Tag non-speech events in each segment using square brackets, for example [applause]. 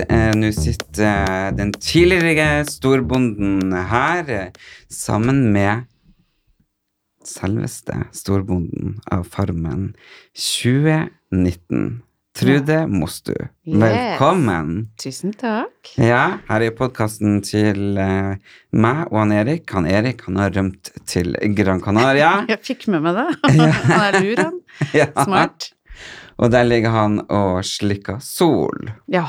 eh, nå sitter eh, den tidligere storbonden her eh, sammen med selveste storbonden av Farmen 2019. Trude Mostu. Yes. Velkommen. Tusen takk. Ja, her er podkasten til eh, meg og han Erik. Han Erik han har rømt til Gran Canaria. [laughs] Jeg fikk med meg det. Han er lur, han. Ja. Smart. Og der ligger han og slikker sol. Ja.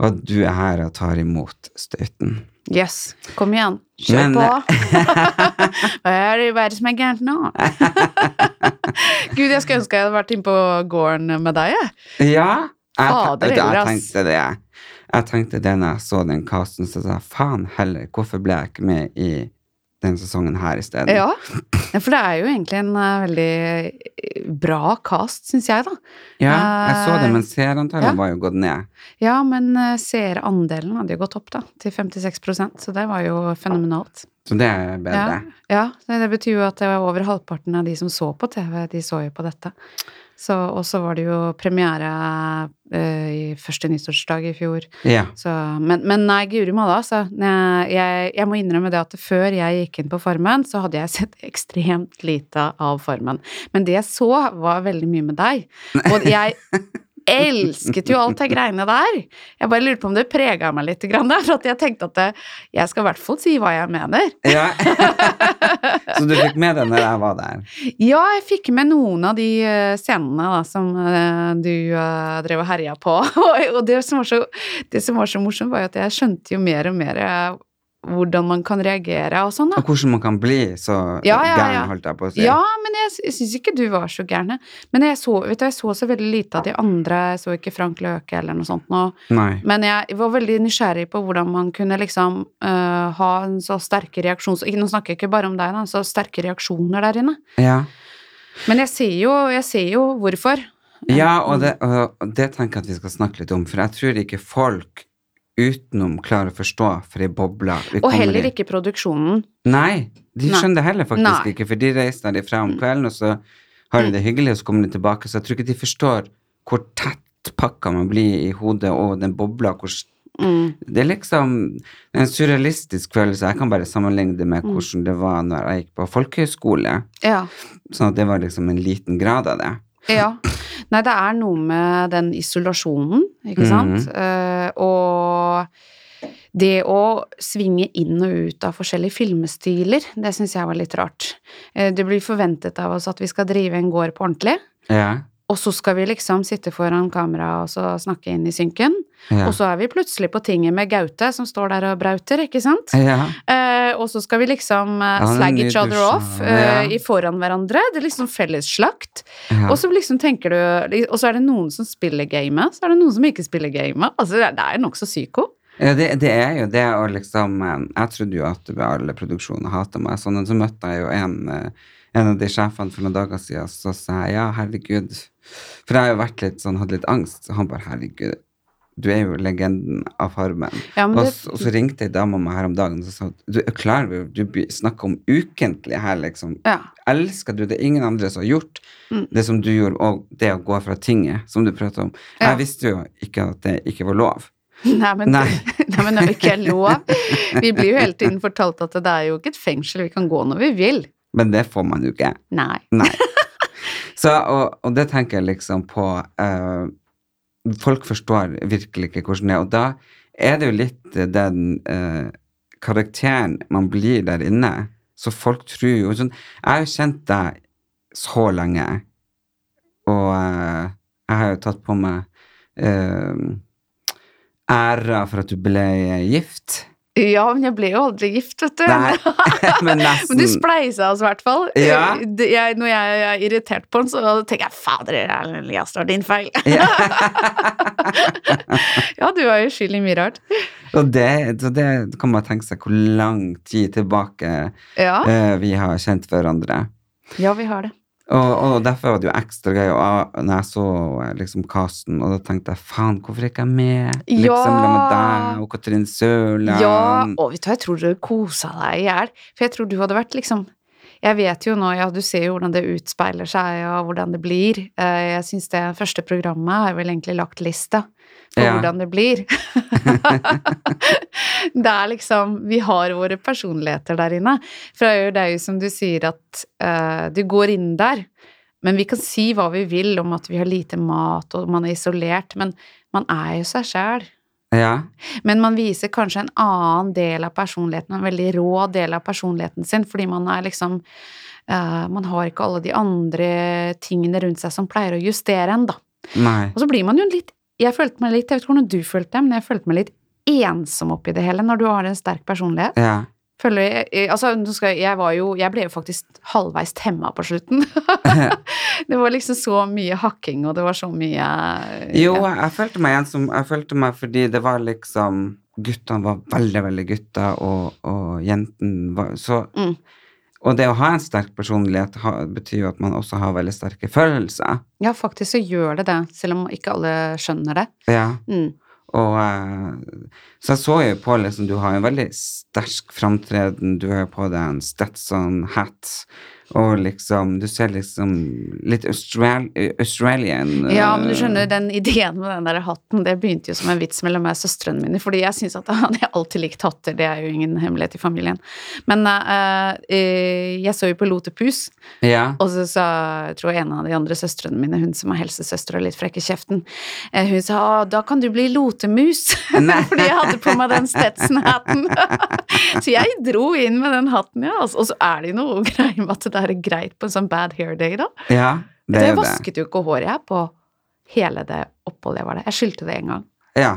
Og du er her og tar imot støyten. Yes. Kom igjen. Kjør Men- på. [laughs] Hva er det, hva er det som er gærent nå? [laughs] Gud, jeg skulle ønske jeg hadde vært inne på gården med deg, jeg. Ja, jeg, Fader, vet du, jeg Elias. tenkte det. Jeg tenkte det når jeg så den casten, så sa jeg faen heller, hvorfor ble jeg ikke med i denne sesongen her isteden? Ja. Ja, For det er jo egentlig en eh, veldig eh, bra cast, syns jeg, da. ja, jeg så det, Eh, men seerantallet ja. var jo gått ned. Ja, men eh, seerandelen hadde jo gått opp, da, til 56 så det var jo fenomenalt. Så det er bedre. Ja, det det betyr jo at det var over halvparten av de som så på TV, de så jo på dette. Så, og så var det jo premiere eh, i første nyttårsdag i fjor. Ja. Så, men, men nei, guri malla, altså. Jeg, jeg, jeg må innrømme det at før jeg gikk inn på Farmen, så hadde jeg [laughs] sett ekstremt lite av Farmen. Men det jeg så, var veldig mye med deg. Og jeg elsket jo alt de greiene der. Jeg bare lurte på om det prega meg litt, grann, da, for at jeg tenkte at eh, jeg skal i hvert fall si hva jeg mener. ja. [laughs] [laughs] så du fikk med deg når jeg var der? Ja, jeg fikk med noen av de eh, scenene da, som eh, du eh, drev og herja på. [laughs] Og- og det som, var så, det som var så morsomt, var jo at jeg skjønte jo mer og mer eh, hvordan man kan reagere og sånn. da. Og hvordan man kan bli så Ja, ja, ja. gæren, holdt jeg på å si. Ja, men jeg, sy- jeg syns ikke du var så gæren. jeg. Men jeg så, vet du, jeg så så veldig lite av de andre. Jeg så ikke Frank Løke eller noe sånt. nå. Nei. Men jeg var veldig nysgjerrig på hvordan man kunne liksom eh, ha en så sterke reaksjoner Nå snakker jeg ikke bare om deg, da. Så sterke reaksjoner der inne. Ja. Men jeg ser jo, jeg ser jo hvorfor. ja, og det, og det tenker jeg at vi skal snakke litt om, for jeg tror ikke folk utenom klarer å forstå for ei boble vi Og kommer i. heller ikke produksjonen. Nei, de Nei. skjønner det heller faktisk Nei. Mm. ikke, for de reiser derifra om kvelden, og så har de det hyggelig, og så kommer de tilbake, så jeg tror ikke de forstår hvor tett pakka man blir i hodet, og den bobla, hvor s- Mm. Det er liksom en surrealistisk følelse. Jeg kan bare sammenligne det Mm. med hvordan det var når jeg gikk på folkehøyskole. Ja. Sånn at det var liksom en liten grad av det. ja. Nei, det er noe med den isolasjonen, ikke sant? Mhm. Eh, og det å svinge inn og ut av forskjellige filmstiler, det syns jeg var litt rart. Eh, det blir forventet av oss at vi skal drive en gård på ordentlig, Ja. og så skal vi liksom sitte foran kamera og så snakke inn i synken. Ja. Og så er vi plutselig på tinget med Gaute som står der og brauter, ikke sant? ja. Eh, og så skal vi liksom eh, Ja, det er slag each nydelig other off sånn, ja. eh, i foran hverandre. Det er liksom fellesslakt. ja. Og så liksom tenker du Og så er det noen som spiller gamet, så er det noen som ikke spiller gamet. Altså, det er- det er nokså psyko. ja det, det er jo det å liksom eh, Jeg trodde jo at alle produksjoner hata meg, sånn, men så møtte jeg jo en, eh, en av de sjefene for noen dager siden, så sa jeg ja, herregud For jeg har jo vært litt sånn, hadde litt angst. Han bare herregud, du er jo legenden av Farmen. Ja, men Og det, så, og så ringte ei dame meg her om dagen og så sa hun, du er klar over du by- snakker om ukentlig her, liksom. ja. [laughs] Elsker du det er ingen andre som har gjort Mm. det som du gjorde, og det å gå fra tinget, som du prater om. Ja. Jeg visste jo ikke at det ikke var lov. Nei, men, Nei. [laughs] nei, men når det ikke er lov Vi blir jo hele tiden fortalt at det er jo ikke et fengsel, vi kan gå når vi vil. Men det får man jo ikke. Nei. Nei. Så, og, og det tenker jeg liksom på eh, Folk forstår virkelig ikke hvordan det er, og da er det jo litt den eh, karakteren man blir der inne. Så folk tror jo sånn, Jeg har jo kjent deg så lenge, og eh, jeg har jo tatt på meg eh, æra for at du ble gift. Ja, men jeg ble jo aldri gift, vet du. Nei, [laughs] men [laughs] Men du nesten. spleisa oss altså, i hvert fall. Eh, Ja. Det- Jeg, når jeg er irritert på den, så tenker jeg fader, Erlend Elias, det var din feil. Ja. Ja, du er jo skyld i mye rart. Og det, så det kan man tenke seg hvor lang tid tilbake Ja, eh, vi har kjent hverandre. ja vi har det. Og, og derfor var det jo ekstra gøy og, ah, når jeg så eh, liksom casten, og da tenkte jeg faen, hvorfor er ikke jeg med? Ja. Liksom la med deg og Katrin Sørland. Ja, og vet du hva, jeg tror du kosa deg i hjel. For jeg tror du hadde vært liksom Jeg vet jo nå, ja, du ser jo hvordan det utspeiler seg, og hvordan det blir. Eh, Jeg syns det første programmet har vel egentlig lagt lista på Ja. hvordan det blir. [laughs] det er liksom Vi har våre personligheter der inne. For det er jo- det er jo som du sier at eh, du går inn der. Men vi kan si hva vi vil om at vi har lite mat, og man er isolert, men man er jo seg sjæl. ja. Men man viser kanskje en annen del av personligheten, en veldig rå del av personligheten sin, fordi man er liksom eh, Man har ikke alle de andre tingene rundt seg som pleier å justere en, da. Nei. Og så blir man jo litt Jeg følte meg litt Jeg vet ikke hvordan du følte det, men jeg følte meg litt ensom oppi det hele når du har en sterk personlighet. Ja. Føler jeg, eh, altså, nå skal, jeg- jeg var jo Jeg ble jo faktisk halvveis temma på slutten. [laughs] det var liksom så mye hakking, og det var så mye Jo, ja. jeg følte meg ensom. Jeg følte meg fordi det var liksom Guttene var veldig, veldig gutter, og, og jentene var så Mm. Og det å ha en sterk personlighet ha, betyr jo at man også har veldig sterke følelser. ja, faktisk så gjør det det, selv om ikke alle skjønner det. Ja. Mm. Og, eh, så jeg så jo på liksom, du har en veldig sterk framtreden, du har jo på deg en Stetson-hat, og liksom, du ser liksom litt Austral Australian eh, Ja, men du skjønner, den ideen med den der hatten, det begynte jo som en vits mellom meg og søstrene mine, fordi jeg syns at [laughs] han har alltid likt hatter, det er jo ingen hemmelighet i familien. Men eh, eh, jeg så jo på Lotepus, Ja, og så sa jeg tror jeg en av de andre søstrene mine, hun som er helsesøster og litt frekk i kjeften, eh, hun sa «Å, da kan du bli lotemus, [laughs] Nei. fordi jeg hadde på meg den Stetson-hatten. [laughs] så jeg dro inn med den hatten, ja. altså. Og så er det jo noe [laughs] greier med at det er greit på en sånn bad hair day, da. ja det Det er jeg jo det. vasket jo ikke håret jeg på hele det oppholdet jeg var der. Jeg skyldte det en gang. Ja.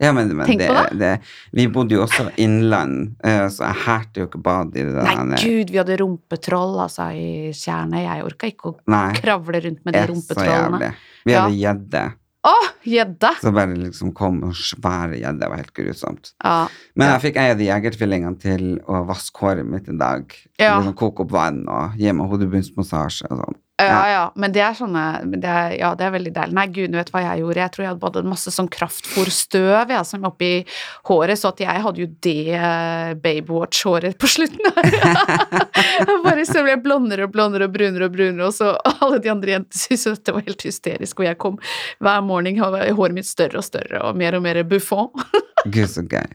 Ja, men, men Tenk det, på det Vi bodde jo også innland, eh, så jeg hærte jo ikke bad i det der. Nei, gud, vi hadde rumpetroll altså, i tjernet. Jeg orka ikke å Nei, kravle rundt med de det er så rumpetrollene. jævlig. Vi hadde gjedde, Å, gjedde! så bare liksom kom og svære gjedde, det var helt grusomt. Ja. Men Ja. jeg fikk ei av de jegertvillingene til å vaske håret mitt en dag. Ja. Liksom koke opp vann og gi meg hodebunnsmassasje og sånn. ja, Ja. Eh, ja. Men det er sånne det er, Ja, det er veldig deilig. Nei, gud, vet du hva jeg gjorde? Jeg tror jeg hadde både masse sånn kraftfòrstøv ja, som oppi håret, så at jeg hadde jo det eh, babywatch-håret på slutten. Jeg [laughs] bare så ble jeg blondere og blondere og brunere og brunere, og så alle de andre jentene syntes jo dette var helt hysterisk, og jeg kom hver morgen og var håret mitt større og større og mer og mer buffon. Gud, så [laughs] gøy.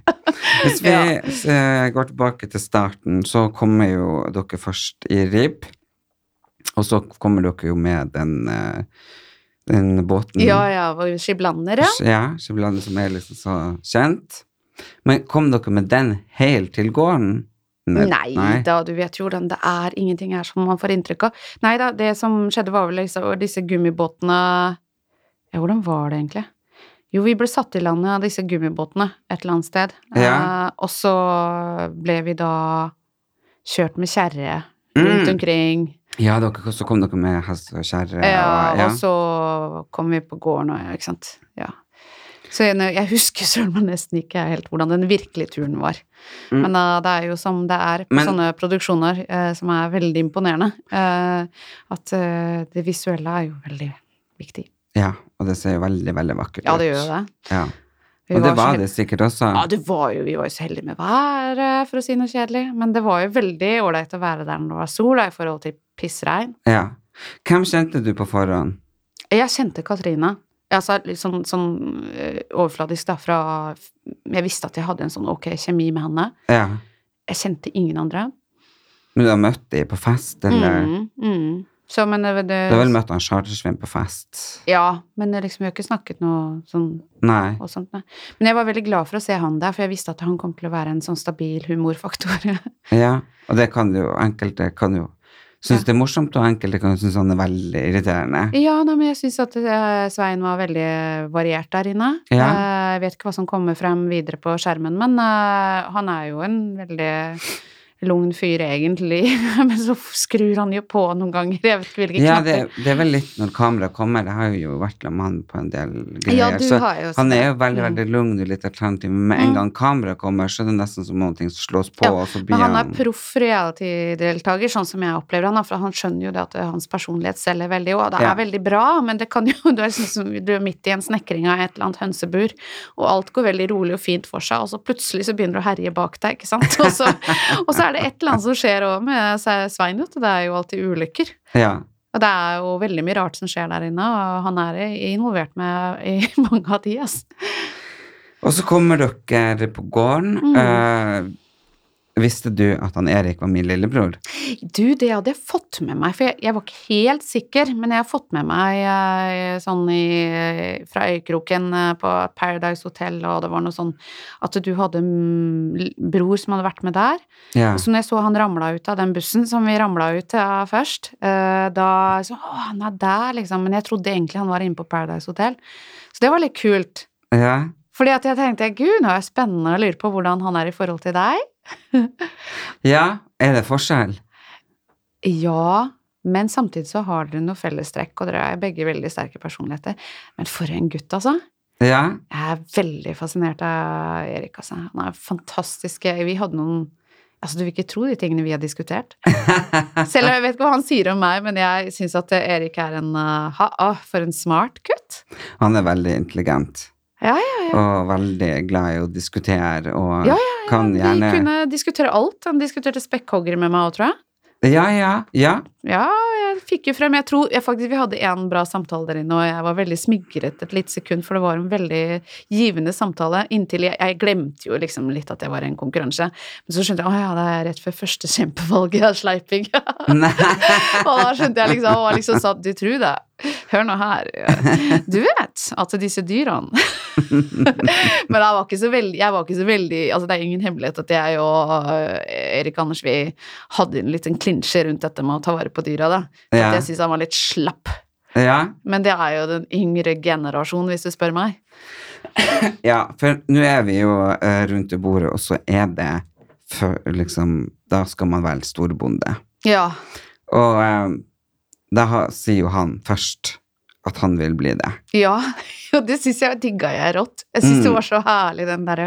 Hvis vi Ja. eh, går tilbake til starten, så kommer jo dere først i ribb. Og så kommer dere jo med den, eh, den båten. Ja, ja, var jo skiblander, ja. Ja, Skibladet som er liksom så kjent. Men kom dere med den helt til gården? Nei da, du vet jo hvordan det er. Ingenting er som man får inntrykk av. Nei da, det som skjedde var vel liksom disse gummibåtene Ja, hvordan var det egentlig? Jo, vi ble satt i landet av disse gummibåtene et eller annet sted. Ja. Eh, og så ble vi da kjørt med kjerre rundt Mm. omkring. Ja, dere, så kom dere med hest og kjerre. Ja, og- ja. Eh, Og så kom vi på gården og ja, ikke sant. Ja. Så jeg, jeg husker søren meg nesten ikke helt hvordan den virkelige turen var. Mm. Men eh, det er jo som det er på Men- sånne produksjoner eh, som er veldig imponerende, eh, at eh, det visuelle er jo veldig viktig. Ja, og det ser jo veldig, veldig vakkert ut. Ja, det gjør jo det. Ja. Vi Og det så var hel- det sikkert også. Ja, det var jo, vi var jo så heldige med været, for å si noe kjedelig. Men det var jo veldig ålreit å være der når det var sol, da, i forhold til pissregn. Ja. Hvem kjente du på forhånd? Jeg kjente Katrine. Altså, litt sånn, sånn eh, overfladisk da, fra Jeg visste at jeg hadde en sånn ok kjemi med henne. Ja. Jeg kjente ingen andre. Men du har møtt dem på fest, eller? Mm, mm. Så, men det, det, Du har eh, vel møtt han Chartersvin på fest? Ja, men det liksom, vi har ikke snakket noe sånn Nei. og sånt, nei. Men jeg var veldig glad for å se han der, for jeg visste at han kom til å være en sånn stabil humorfaktor. [laughs] Ja, og det kan jo enkelte kan jo syns det er morsomt, og enkelte kan synes han er veldig irriterende. Ja, nei, men jeg syns at eh, Svein var veldig variert der inne. Ja. Eh, Jeg vet ikke hva som kommer frem videre på skjermen, men eh, han er jo en veldig lugn fyr, egentlig. [laughs] men så skrur han jo på noen ganger. Jeg vet ikke hvilke Ja, det, knapper. det er vel litt når kameraet kommer. Jeg har jo vært sammen med han på en del greier. Ja, du så har jo han er jo veldig, Mm. veldig lugn og litt alternativ, men med Mm. en gang kameraet kommer, så er det nesten som noen ting som slås på, Ja, og så blir Men han han er proff reality-deltaker, sånn som jeg opplever han. da, For han skjønner jo det at hans personlighet selger veldig, og det Ja. er veldig bra, men det kan jo [laughs] Du er, sånn som, du er midt i en snekring av et eller annet hønsebur, og alt går veldig rolig og fint for seg, og så plutselig så begynner du å herje bak deg, ikke sant. [laughs] Og så, og så er det et eller annet som skjer òg med Se- Svein, vet du. Det er jo alltid ulykker. Ja. Og det er jo veldig mye rart som skjer der inne, og han er involvert med i [laughs] mange av de, ass. Og så kommer dere på gården. Mm. Eh, visste du at han Erik var min lillebror? Du, det hadde jeg fått med meg, for jeg, jeg var ikke helt sikker, men jeg har fått med meg eh, sånn i, fra øykroken eh, på Paradise Hotel, og det var noe sånn at du hadde mm, l- bror som hadde vært med der. Ja. Så når jeg så han ramla ut av den bussen som vi ramla ut av først, eh, da så Å, han er der, liksom. Men jeg trodde egentlig han var inne på Paradise Hotel. Så det var litt kult. ja. Fordi at jeg tenkte gud, nå er det spennende å lure på hvordan han er i forhold til deg. Ja, er det forskjell? Ja, men samtidig så har dere noe fellestrekk, og dere er begge veldig sterke personligheter. Men for en gutt, altså. Ja. Jeg er veldig fascinert av Erik, altså. Han er fantastisk. Vi hadde noen Altså, du vil ikke tro de tingene vi har diskutert. [laughs] Selv om jeg vet ikke hva han sier om meg, men jeg syns at Erik er en uh, ha, ah, For en smart gutt. Han er veldig intelligent. Ja, Og veldig glad i å diskutere og Ja, kan Vi gjerne kunne diskutere alt. Han diskuterte spekkhoggere med meg òg, tror jeg. Ja, ja, ja. [laughs] Ja, jeg fikk jo frem Jeg tror jeg faktisk vi hadde en bra samtale der inne, og jeg var veldig smigret et lite sekund, for det var en veldig givende samtale. Inntil jeg, jeg glemte jo liksom litt at jeg var i en konkurranse. Men så skjønte jeg å ja, det er rett før første kjempevalget av sleiping. [laughs] Nei. og da skjønte jeg liksom Og liksom sa du tror det. Hør nå her. Du vet at disse dyrene [laughs] Men jeg var ikke så veldig, jeg var ikke så veldig Altså det er ingen hemmelighet at jeg og eh, Erik Anders vi hadde en liten klinsje rundt dette med å ta vare på dyra, da. For Ja. At jeg syns han var litt slapp. Ja, Men det er jo den yngre generasjonen, hvis du spør meg. ja, for nå er vi jo eh, rundt i bordet, og så er det for, liksom Da skal man være storbonde. Ja. Og eh, da har, sier jo han først at han vil bli det. Ja, [laughs] og det syns jeg digga jeg rått. Jeg syns det Mm. var så herlig den derre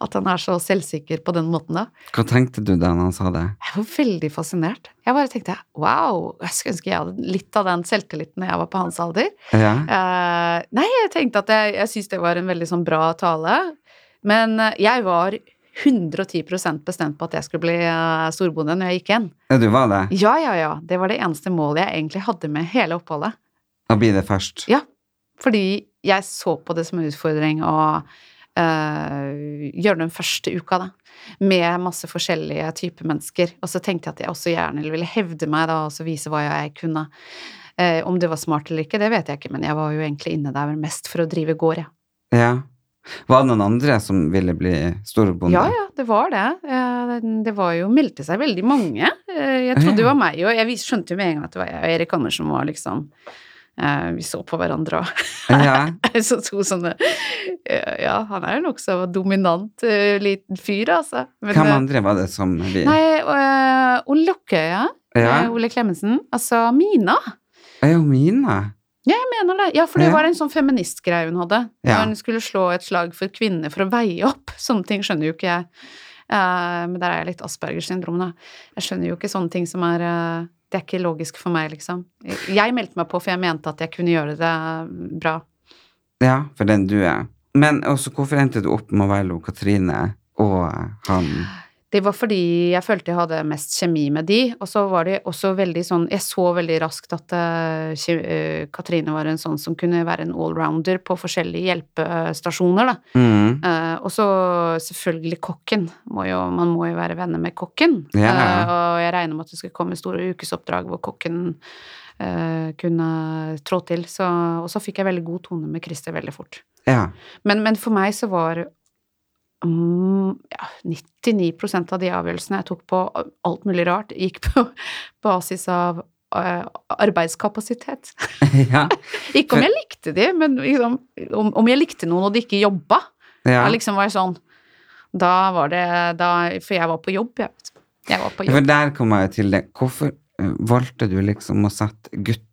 at han er så selvsikker på den måten, da. Hva tenkte du da han sa det? Jeg var veldig fascinert. Jeg bare tenkte wow, jeg skulle ønske jeg hadde litt av den selvtilliten når jeg var på hans alder. Ja, Eh, nei, jeg tenkte at jeg, jeg syns det var en veldig sånn bra tale. Men eh, jeg var 110 bestemt på at jeg skulle bli eh, storbonde når jeg gikk igjen. ja du var det? Ja, ja, ja. Det var det eneste målet jeg egentlig hadde med hele oppholdet. Da blir det først. Ja, fordi jeg så på det som en utfordring å eh, gjøre den første uka, da. Med masse forskjellige typer mennesker. Og så tenkte jeg at jeg også gjerne ville hevde meg, da, og så vise hva jeg kunne. Eh, om det var smart eller ikke, det vet jeg ikke, men jeg var jo egentlig inne der mest for å drive gård, jeg. Ja. Var det noen andre som ville bli storbonde? Ja, ja, det var det. Eh, Det var jo meldte seg veldig mange. Eh, Jeg trodde det var meg, og jeg vis- skjønte jo med en gang at det var jeg og Erik Andersen var liksom eh, Vi så på hverandre og Ja, Så to sånne eh, Ja, han er jo nokså dominant eh, liten fyr, altså. [laughs] Men, Hvem eh, andre var det som vi Nei, eh, Ole Løkkøye, Ja, eh, Ole Klemetsen. Altså Mina, er jo mine. jeg mener det. Ja, for det Ja. var en sånn feministgreie hun hadde. Ja. Når hun skulle slå et slag for kvinner for å veie opp. [laughs] Sånne ting skjønner jo ikke jeg. Eh, men der er jeg litt Aspergers syndrom, da. Jeg skjønner jo ikke sånne ting som er eh, Det er ikke logisk for meg, liksom. Jeg meldte meg på, for jeg mente at jeg kunne gjøre det eh, bra. Ja, for den du er. Men også, hvorfor endte du opp med å velge Katrine og han? Det var fordi jeg følte jeg hadde mest kjemi med de, og så var det også veldig sånn Jeg så veldig raskt at eh, kje- eh, Katrine var en sånn som kunne være en allrounder på forskjellige hjelpestasjoner, da. Mm. Eh, og så selvfølgelig kokken. Må jo, man må jo være venner med kokken. Ja, ja, ja. Eh, og jeg regner med at det skulle komme store ukesoppdrag hvor kokken eh, kunne trå til. Så, og så fikk jeg veldig god tone med Christer veldig fort. Ja. Men, men for meg så var mm, ja, 99 av de avgjørelsene jeg tok på alt mulig rart, gikk på [laughs] basis av eh, arbeidskapasitet. ja, [laughs] Ikke om jeg likte de, men liksom, om, om jeg likte noen og de ikke jobba. ja. Da liksom var jeg sånn Da var det da, For jeg var på jobb, jeg vet. Jeg var på For jobb. der kommer jeg til det. Hvorfor eh, valgte du liksom å sette guttene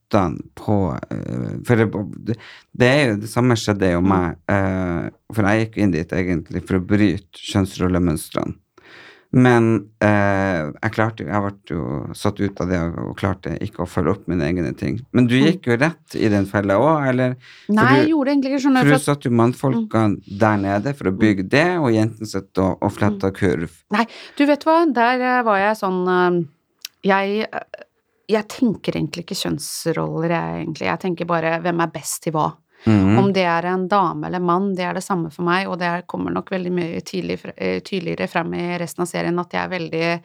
på eh, For det, det er jo det samme skjedde jo meg. eh, For jeg gikk jo inn dit egentlig for å bryte kjønnsrollemønstrene. Men eh, jeg klarte jo Jeg ble jo satt ut av det og og klarte ikke å følge opp mine egne ting. Men du gikk jo rett i den fella òg, eller? Nei, du- jeg Mm. gjorde egentlig ikke sånn. For For du at, satt jo mannfolkene der nede for å bygge det, og jentene satt og, og fletta Mm. kurv. du vet hva, der eh, var jeg sånn eh, Jeg eh, jeg tenker egentlig ikke kjønnsroller, jeg egentlig. Jeg tenker bare hvem er best til hva. Mhm. Om det er en dame eller mann, det er det samme for meg, og det er- kommer nok veldig mye tydelig, fre- eh, tydeligere frem i resten av serien at jeg er veldig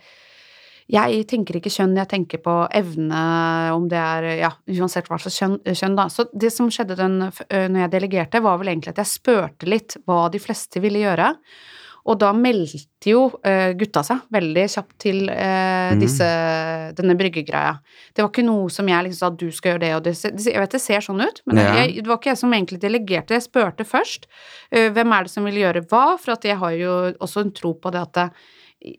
Jeg tenker ikke kjønn, jeg tenker på evne, om det er Ja, uansett hva slags kjønn, kjønn da. Så det som skjedde den, f- eh, når jeg delegerte, var vel egentlig at jeg spurte litt hva de fleste ville gjøre. Og da meldte jo eh, gutta seg veldig kjapt til eh, Mm. disse, denne bryggegreia. Det var ikke noe som jeg liksom sa at du skal gjøre det og det. ser- det ser- Jeg vet det ser sånn ut, men Ja. jeg, det var ikke jeg som egentlig delegerte. Jeg spurte først eh, hvem er det som vil gjøre hva, for at jeg har jo også en tro på det at det,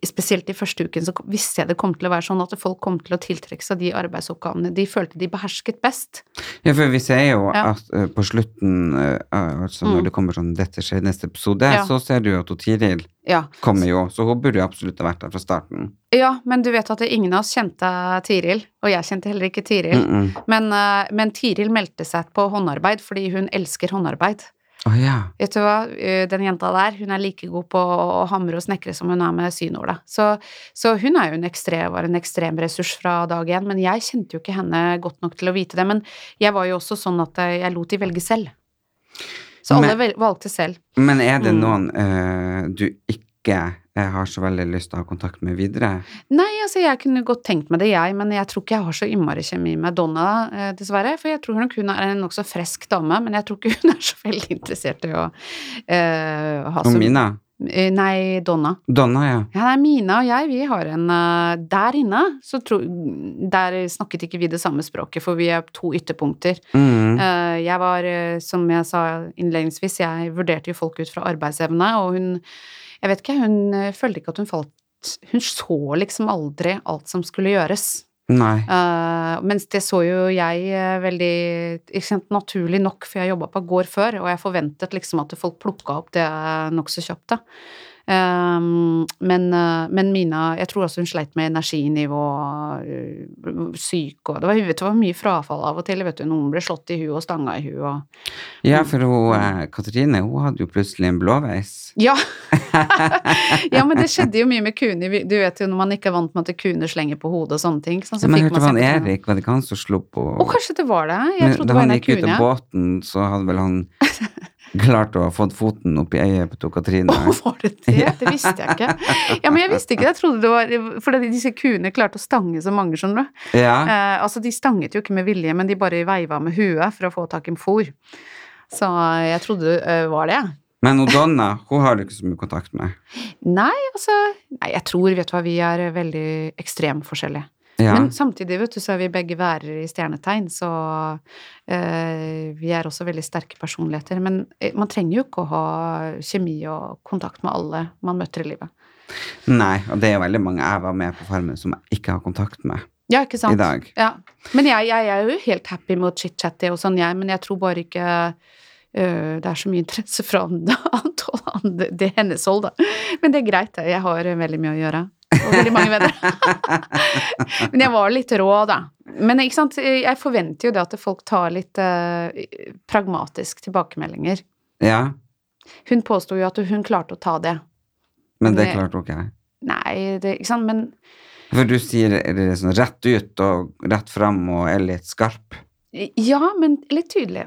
Spesielt i første uken så visste jeg det kom til å være sånn at folk kom til å tiltrekke seg de arbeidsoppgavene de følte de behersket best. Ja, for vi ser jo Ja. at eh, på slutten, eh, eh, altså når Mm. det kommer sånn 'dette skjer i neste episode', Ja. så ser du jo at hun Tiril Ja. kommer jo, så hun burde jo absolutt ha vært der fra starten. ja, men du vet at ingen av oss kjente Tiril, og jeg kjente heller ikke Tiril. Mm -mm. Men, eh, men Tiril meldte seg på håndarbeid fordi hun elsker håndarbeid. Å ja. Vet du hva, Eh, den jenta der, hun er like god på å hamre og snekre som hun er med synåla. Så, så hun er jo en ekstrem, var en ekstrem ressurs fra dag én, men jeg kjente jo ikke henne godt nok til å vite det. Men jeg var jo også sånn at eh, jeg lot de velge selv. Så alle Men- vel- valgte selv. Men er det Mm. noen eh, du ikke eh, har så veldig lyst til å ha kontakt med videre? Nei, altså jeg kunne godt tenkt meg det, jeg, men jeg tror ikke jeg har så innmari kjemi med Donna, eh, dessverre. For jeg tror nok hun er en nokså frisk dame, men jeg tror ikke hun er så veldig interessert i å eh, ha Og så Mina? Eh, Nei, Donna. Donna, ja. Ja, nei, Mina og jeg, vi har en eh, Der inne, så tro, der snakket ikke vi det samme språket, for vi er to ytterpunkter. Mm. Eh, Jeg var, eh, som jeg sa innledningsvis, jeg vurderte jo folk ut fra arbeidsevne, og hun Jeg vet ikke, hun eh, følte ikke at hun falt Hun så liksom aldri alt som skulle gjøres. Nei. Eh, mens det så jo jeg eh, veldig ikke sant, naturlig nok, for jeg jobba på gård før, og jeg forventet liksom at folk plukka opp det nokså kjapt, da. Ehm, men, eh, men Mina Jeg tror også hun sleit med energinivå, eh, syk og det var, vet du, det var mye frafall av og til. Vet du, noen ble slått i huet og stanga i huet og [laughs] Mm. Ja, for hun, eh, Katrine hun hadde jo plutselig en blåveis. [laughs] Ja! ja, men det skjedde jo mye med kuene. Vi- Du vet jo når man ikke er vant med at kuene slenger på hodet og sånne ting. Sånn, så Men jeg fikk hørte man om han seg på trynet. Erik, var det ikke han som slo på Å, kanskje det var det. Jeg Men trodde det da var han en gikk ut kune. av båten, så hadde vel [laughs] han klart å ha fått foten opp i øyet på Katrine. Å, var det det? Det visste jeg ikke. Ja, men jeg visste ikke det. Jeg trodde det var For disse kuene klarte å stange så mange, skjønner du. Ja, Eh, altså, de stanget jo ikke med vilje, men de bare veiva med huet for å få tak i fôr. Så eh, jeg trodde det eh, var det. Men hun Donna hun har du ikke så mye kontakt med. Nei, altså Nei, jeg tror, vet du hva, vi er eh, veldig ekstremforskjellige. Ja. Men samtidig, vet du, så er vi begge værer i stjernetegn, så eh, vi er også veldig sterke personligheter. Men eh, man trenger jo ikke å ha kjemi og kontakt med alle man møter i livet. Nei, og det er jo veldig mange jeg var med på Farmen som jeg ikke har kontakt med Ja, ikke sant? i dag. Ja. Men jeg, jeg, er jo helt happy med å chit-chatte og sånn, jeg, men jeg tror bare ikke øh, det er så mye interesse fra [laughs] andre, andre det er hennes hold, da. Men det er greit, det. Jeg har øh, veldig mye å gjøre. Og veldig mange venner. [laughs] men jeg var litt rå, da. Men ikke sant? jeg forventer jo det at folk tar litt øh, pragmatisk tilbakemeldinger. Ja, Hun påsto jo at hun klarte å ta det. men det Nei. klarte hun ikke. Nei, det, ikke sant, men For du sier det er sånn rett ut og rett fram og er litt skarp. Ja, men litt tydelig.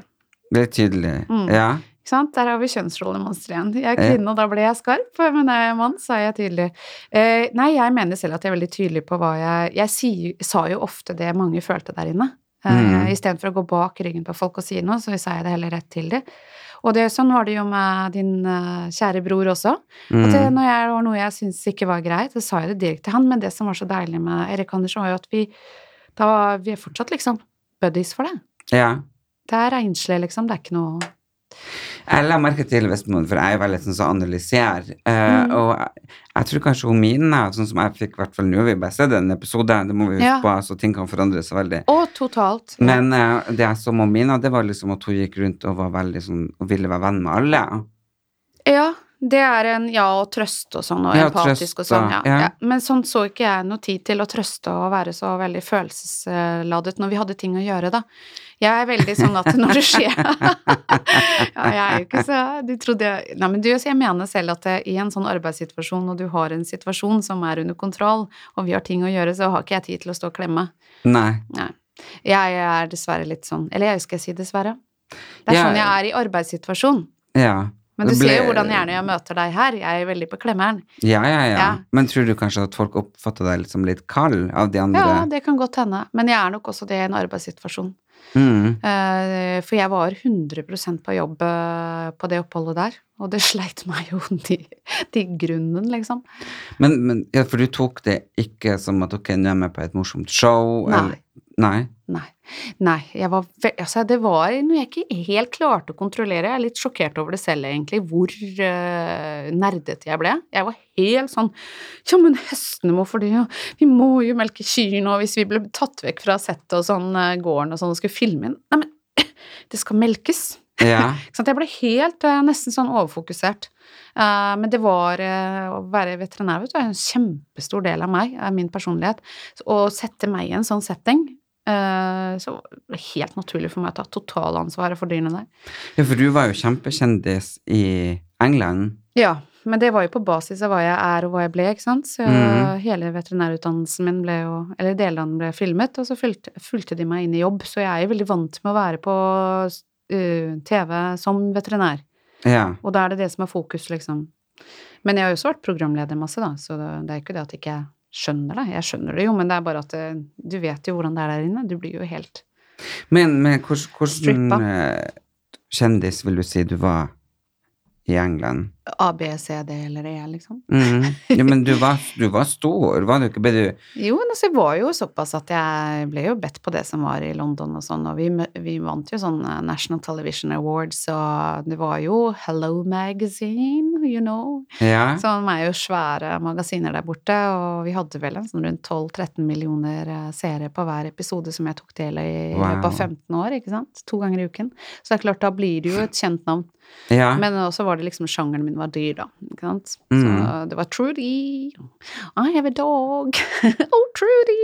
Det er tydelig. Mm. Ja. Ikke sant? Der har vi kjønnsrollemønsteret igjen. Jeg er kvinne, og da ble jeg skarp, men jeg er mann, så er jeg tydelig. Eh, nei, jeg mener selv at jeg er veldig tydelig på hva jeg Jeg sier, sa jo ofte det mange følte der inne. Eh, Mhm. Istedenfor å gå bak ryggen på folk og si noe, så sa jeg det heller rett til dem. Og det, sånn var det jo med din eh, kjære bror også. At Mm. det, når jeg, det var noe jeg syntes ikke var greit, så sa jeg det direkte til han. Men det som var så deilig med Erik Andersen, var jo at vi, da, var- vi er fortsatt liksom buddies for det. Ja. Det er renslig, liksom. Det er ikke noe Jeg la merke til Vestmoen, for jeg er veldig sånn som analyserer. eh, Mm. Og jeg, jeg tror kanskje hun Mina, sånn som jeg fikk i hvert fall nå, vi bare ser den episoden, det må vi huske Ja. på, så ting kan forandre seg veldig. Og totalt. Men eh, det jeg så med Mina, det var liksom at hun gikk rundt og var veldig sånn, og ville være venn med alle. Ja, det er en ja og trøst og sånn, og Ja, empatisk og trøst, sånn. ja, Ja, ja. ja. Men sånn så ikke jeg noe tid til å trøste og være så veldig følelsesladet når vi hadde ting å gjøre, da. Jeg er veldig sånn at når det skjer [laughs] Ja, jeg er jo ikke så Du trodde jeg Nei, men du, jeg mener selv at eh, i en sånn arbeidssituasjon, og du har en situasjon som er under kontroll, og vi har ting å gjøre, så har ikke jeg tid til å stå og klemme. Nei. Nei. Jeg er dessverre litt sånn Eller jeg skal jeg si dessverre. Det er Ja. sånn jeg er i arbeidssituasjon. Ja. Men du Det ble- ser jo hvordan gjerne jeg møter deg her. Jeg er veldig på klemmeren. Ja, ja, ja, Ja. Men tror du kanskje at folk oppfatter deg litt som litt kald av de andre? Ja, Mm, det kan godt hende. Men jeg er nok også det i en arbeidssituasjon. Mm. Eh, For jeg var 100 på jobb eh, på det oppholdet der. Og det [laughs] sleit meg jo til, til grunnen, liksom. Men, men ja, for du tok det ikke som at ok, nå er jeg med på et morsomt show? Nei. nei. Nei. Nei jeg var ve altså, det var noe jeg ikke helt klarte å kontrollere. Jeg er litt sjokkert over det selv, egentlig, hvor eh, nerdete jeg ble. Jeg var helt sånn Ja, men hestene må for det, ja. Vi må jo melke kyrne, og hvis vi ble tatt vekk fra settet og sånn, eh, gården og sånn, og skulle filme inn Nei, men [clears throat] det skal melkes. Ja. Ikke sant? Jeg ble helt eh, nesten sånn overfokusert. Eh, men det var eh, å være veterinær vet du, er en kjempestor del av meg, av min personlighet. Så Å sette meg i en sånn setting eh, så var det helt naturlig for meg å ta totalansvaret for dyrene der. Ja, for du var jo kjempekjendis i England. Ja, men det var jo på basis av hva jeg er og hva jeg ble, ikke sant. Så Mhm. hele veterinærutdannelsen min ble jo, eller deler av den ble filmet, og så fulgte, fulgte de meg inn i jobb. Så jeg er jo veldig vant med å være på eh, TV som veterinær. Ja. Og da er det det som er fokus, liksom. Men jeg har jo også vært programleder masse, da, så det, det er ikke det at jeg ikke skjønner det. Jeg skjønner det jo, men det er bare at eh, du vet jo hvordan det er der inne. Du blir jo helt Men, men hvordan, hvordan Strippa. eh, kjendis vil du si du var i England? ABCD eller E, liksom. Mhm. Ja, men du var, du var stor, var du ikke? Ble du Jo, men altså, jeg var jo såpass at jeg ble jo bedt på det som var i London og sånn, og vi, mø- vi vant jo sånn eh, National Television Awards, og det var jo Hello Magazine, you know. Ja. Sånn er jo svære magasiner der borte, og vi hadde vel en sånn rundt 12-13 millioner eh, seere på hver episode som jeg tok del i i Wow. løpet av 15 år, ikke sant? To ganger i uken. Så det er klart, da blir det jo et kjent navn. ja. Men også var det liksom sjangeren min var dyr, da. Ikke sant? Så Mm. det var Trudy. I have a dog. [laughs] oh, Trudy.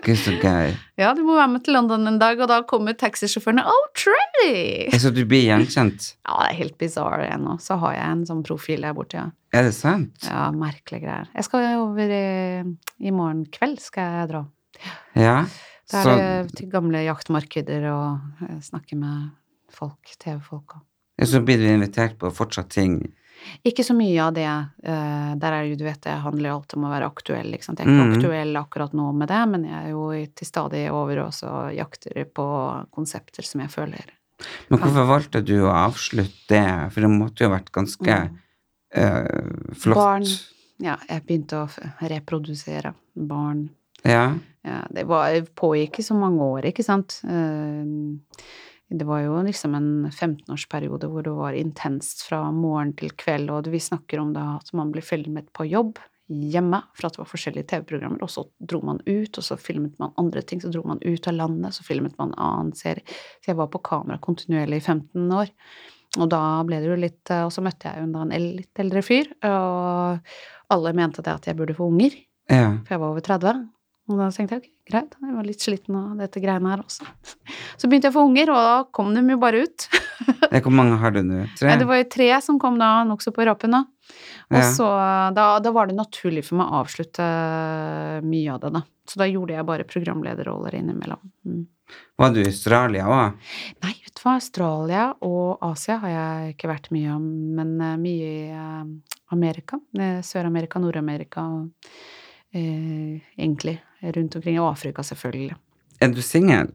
Gud, så gøy. ja, du må være med til London en dag, og da kommer taxisjåførene. Oh, Trudy! Så du blir gjenkjent? Ja, det er helt bizarre ennå. Så har jeg en sånn profil der borte, ja. Er det sant? Ja, merkelige greier. Jeg skal over i, i morgen kveld skal jeg dra. Ja. Da Så, er det til gamle jaktmarkeder og eh, snakke med folk, TV-folk og ja, så blir du invitert på fortsatt ting. Ikke så mye av det. eh, Der er det jo, du vet, det handler jo alt om å være aktuell, ikke sant. Jeg er ikke Mhm. aktuell akkurat nå med det, men jeg er jo i- til stadig over og så jakter på konsepter som jeg føler. Men hvorfor valgte du å avslutte det? For det måtte jo ha vært ganske eh, flott. Mm. Barn. Ja, jeg begynte å f- reprodusere barn. Ja. Ja, det var, pågikk i så mange år, ikke sant. Eh, Det var jo liksom en 15-årsperiode hvor det var intenst fra morgen til kveld, og vi snakker om da at man ble filmet på jobb hjemme, for at det var forskjellige TV-programmer, og så dro man ut, og så filmet man andre ting, så dro man ut av landet, så filmet man annen serie. Så jeg var på kamera kontinuerlig i 15 år. Og da ble det jo litt eh, Og så møtte jeg jo da en el- litt eldre fyr, og alle mente det at jeg burde få unger. ja. For jeg var over 30. Og da tenkte jeg ok, greit, jeg var litt sliten av dette greiene her også. [laughs] Så begynte jeg å få unger, og da kom de jo bare ut. [laughs] Ja, Hvor mange har du nå? Tre? Nei, det var jo tre som kom da, nokså på rappen da. Og Ja. så da, da var det naturlig for meg å avslutte eh, mye av det, da. Så da gjorde jeg bare programlederroller innimellom. Mm. Var du i Australia òg? Nei, vet du hva, Australia og Asia har jeg ikke vært mye om, men eh, mye i eh, Amerika. eh, Sør-Amerika, Nord-Amerika og eh, egentlig rundt omkring. Og Afrika, selvfølgelig. Er du singel?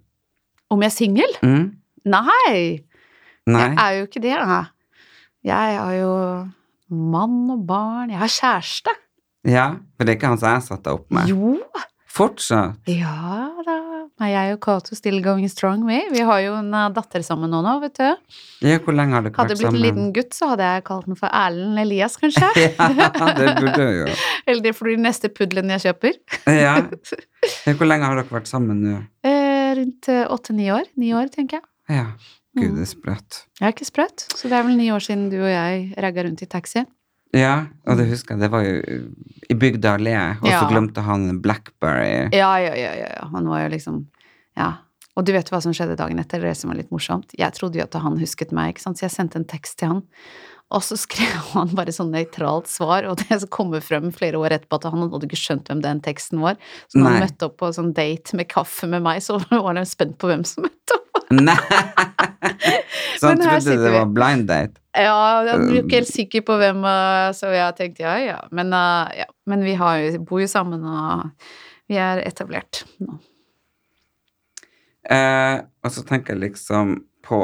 Om jeg er singel? Mm. Nei! Nei. Jeg er jo ikke det, da. Jeg har jo mann og barn. Jeg har kjæreste. Ja, for det er ikke han som jeg satte deg opp med. Jo. Fortsatt. Ja da. Nei, jeg og Cato still going strong, vi. Vi har jo en eh, datter sammen nå, nå, vet du. Ja, hvor lenge har dere Hadde vært det blitt sammen? en liten gutt, så hadde jeg kalt den for Erlend Elias, kanskje. [laughs] Ja, det burde jeg jo. Eller det blir den neste puddelen jeg kjøper. Ja. ja. Hvor lenge har dere vært sammen nå? Eh, rundt åtte-ni år. Ni år, tenker jeg. Ja. Gud, Mm. det er sprøtt. Jeg er ikke sprøtt, så det er vel ni år siden du og jeg ragga rundt i taxi. Ja, og det husker jeg, det var jo i Bygda allé, og så Ja. glemte han Blackberry. Ja, ja, ja, ja, ja. Han var jo liksom Ja. Og du vet hva som skjedde dagen etter, det som var litt morsomt. Jeg trodde jo at han husket meg, ikke sant, så jeg sendte en tekst til han. Og så skrev [laughs] han bare sånn nøytralt svar, og det som kommer frem flere år etterpå at han hadde ikke skjønt hvem den teksten var. Så når han Nei. møtte opp på sånn date med kaffe med meg, så [laughs] var han spent på hvem som [laughs] møtte opp. Nei! Så han Men trodde her sitter det vi. var blind date. Ja, jeg er ikke helt sikker på hvem, eh, så jeg tenkte ja, ja. Men, eh, ja. Men vi har jo, bor jo sammen, og vi er etablert nå. Eh, og så tenker jeg liksom på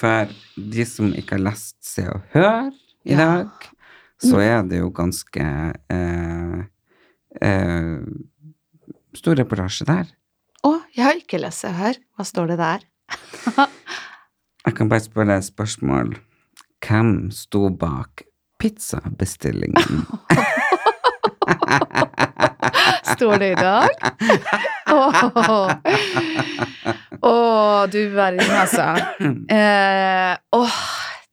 For de som ikke har lest Se og Hør i Ja. dag, så er det jo ganske eh, eh, Stor reportasje der. Å, jeg har ikke lest det her. Hva står det der? Jeg kan bare spørre deg et spørsmål. Hvem sto bak pizzabestillingen? [laughs] Står det i dag? Åh, Åh, du verden, altså. Eh, åh,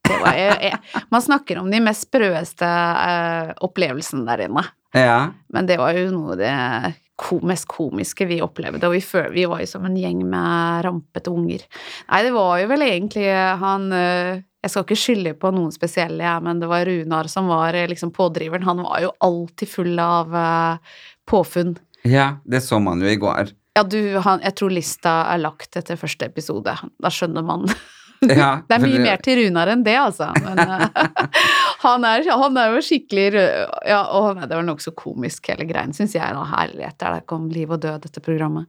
det var jo eh, Man snakker om de mest sprøeste eh, opplevelsene der inne. ja. Men det var jo noe av det ko mest komiske vi opplevde, og vi, føl vi var jo som en gjeng med rampete unger. Nei, det var jo vel egentlig han eh, Jeg skal ikke skylde på noen spesielle, jeg, men det var Runar som var eh, liksom pådriveren. Han var jo alltid full av eh, påfunn. ja, det så man jo i [laughs] går. Ja, du, han, jeg tror lista er lagt etter første episode. Da skjønner man. [laughs] Ja, Det er for mye mer til Runar enn det, altså. Men eh, [laughs] han, er, han er jo skikkelig rød. Ja, å, nei, det var nokså komisk, hele greien, syns jeg. Da. Herlighet, det er da kom liv og død, dette programmet.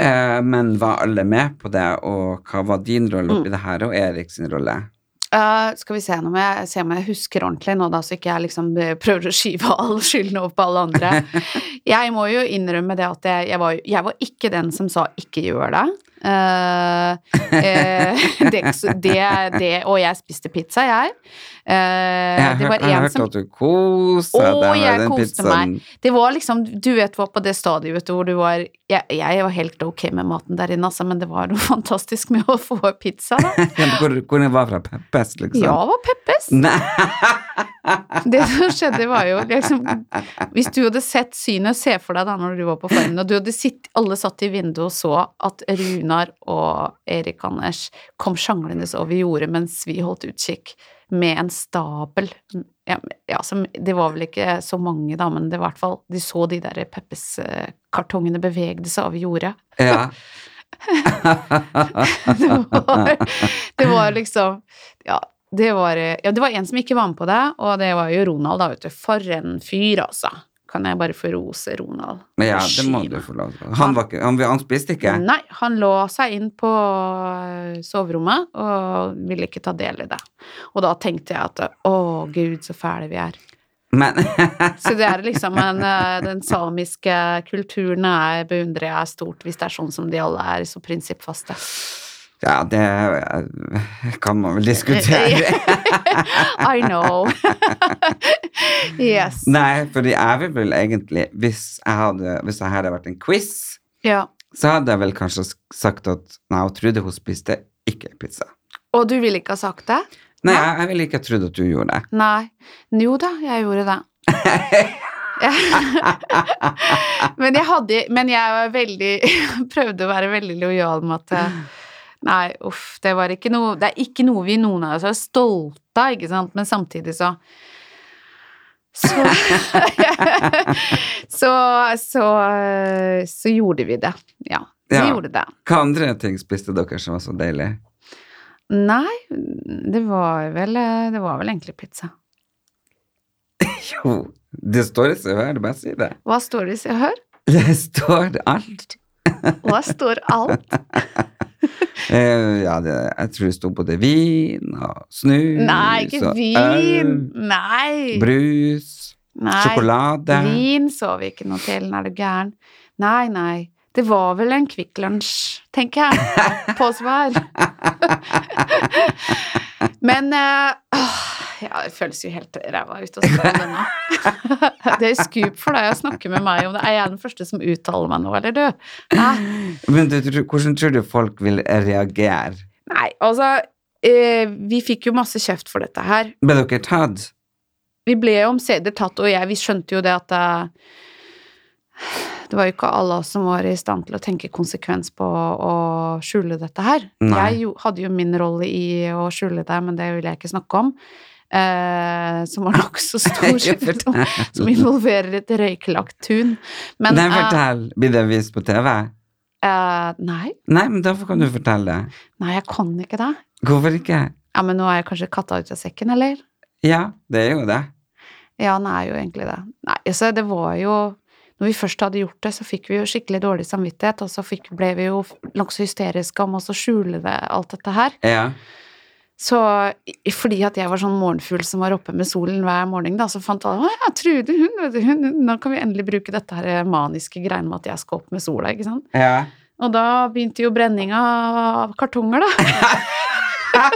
Eh, men var alle med på det, og hva var din rolle Mm. oppi det her, og Erik sin rolle? Eh, skal vi se nå, må jeg se om jeg husker ordentlig nå, da, så ikke jeg liksom eh, prøver å skyve all [laughs] skylden over på alle andre. [laughs] Jeg må jo innrømme det at jeg, jeg, var, jo- jeg var ikke den som sa 'ikke gjør det'. Eh, eh, det, det, det Og jeg spiste pizza, jeg. Eh, Jeg, det hør, var jeg en hørte som at du kosa Å, deg jeg med den koste pizzaen. Det var liksom, du vet, var på det stadiet vet du, hvor du var jeg, jeg var helt ok med maten der inne, altså, men det var noe [laughs] fantastisk med å få pizza, da. [laughs] Ja, men Hvor, hvor den var fra Peppes, liksom? Ja, var Peppes. Nei, [laughs] Det som skjedde, var jo liksom Hvis du hadde sett synet, se for deg da når du var på Formen, og du hadde sitt, alle satt i vinduet og så at Runar og Erik Anders kom sjanglende over jordet mens vi holdt utkikk med en stabel ja, ja, som, Det var vel ikke så mange, da, men det var i hvert fall De så de der Peppes-kartongene bevegde seg over jordet. ja. [laughs] Det var, det var liksom ja det, var, ja, det var en som ikke var med på det, og det var jo Ronald, da, vet du. For en fyr, altså. Kan jeg bare få rose Ronald? Men ja, det må Skiva. du få lov til. Han, var ikke, han, han spiste ikke? Nei, han lå seg inn på øh, soverommet og ville ikke ta del i det. Og da tenkte jeg at å, gud, så fæle vi er. Men [laughs] Så det er liksom en, eh, den samiske kulturen er, beundrer jeg stort, hvis det er sånn som de alle er, så prinsippfaste. Ja, det eh, kan man vel diskutere. eh, [laughs] I know. eh, yes. [laughs] Nei, fordi jeg vil vel egentlig Hvis jeg hadde, hvis det her hadde vært en quiz, Ja. så hadde jeg vel kanskje sk- sagt at Nei, hun trodde hun spiste ikke pizza. Og du ville ikke ha sagt det? Nei, jeg, jeg ville ikke ha trodd at du gjorde det. Nei. Jo da, jeg gjorde det. [laughs] men jeg hadde Men jeg var veldig [laughs] Prøvde å være veldig lojal med at eh, Nei, uff, det var ikke noe Det er ikke noe vi noen av oss er stolte av, ikke sant, men samtidig så så, [laughs] så, så, eh, så gjorde vi det. Ja, vi Ja. gjorde det. Hva andre ting spiste dere som var så deilig? Nei, det var vel, eh, det var vel egentlig pizza. Jo, det står i Se og Hør, bare si det. Hva står [laughs] det i Se og Hør? Det står alt. [laughs] Og der står alt. Eh, ja, det, jeg tror det sto både vin og snus Nei, ikke og vin! Nei! øl, brus, Nei. sjokolade. Vin så vi ikke noe til, er du gæren? Nei, nei. Det var vel en Kvikk Lunsj, [laughs] tenker jeg. På svar. [laughs] Men eh, åh, Ja, det føles jo helt ræva ut å snakke om det nå. [laughs] [laughs] Det er skup for deg å snakke med meg om det. Er jeg den første som uttaler meg nå, eller du? Hæ? Men du, tror- hvordan tror du folk vil reagere? Nei, altså eh, Vi fikk jo masse kjeft for dette her. Ble dere tatt? vi ble jo omsider tatt, og jeg, vi skjønte jo det at det, det var jo ikke alle oss som var i stand til å tenke konsekvens på å skjule dette her. Nei. Jeg jo, hadde jo min rolle i å skjule det, men det vil jeg ikke snakke om. Eh, som var nokså [laughs] stor, Ja, som, som involverer et røykelagt tun. Men Nei, eh, fortell. Blir det vist på TV? eh, nei, Nei, men derfor kan du fortelle det. nei, jeg kan ikke det. Hvorfor ikke? Ja, men nå er jeg kanskje katta ut av sekken, eller? Ja, det er jo det. Ja, han er jo egentlig det. Nei, altså, det var jo Når vi først hadde gjort det, så fikk vi jo skikkelig dårlig samvittighet, og så fikk, ble vi jo nokså hysteriske om også å skjule det, alt dette her. Ja. Så i- fordi at jeg var sånn morgenfugl som var oppe med solen hver morgen, da, så fant alle Å ja, Trude, hun, vet du, hun, hun, nå kan vi endelig bruke dette her maniske greiene med at jeg skal opp med sola, ikke sant. [laughs] ja. Og da begynte jo brenninga av kartonger, da. [laughs]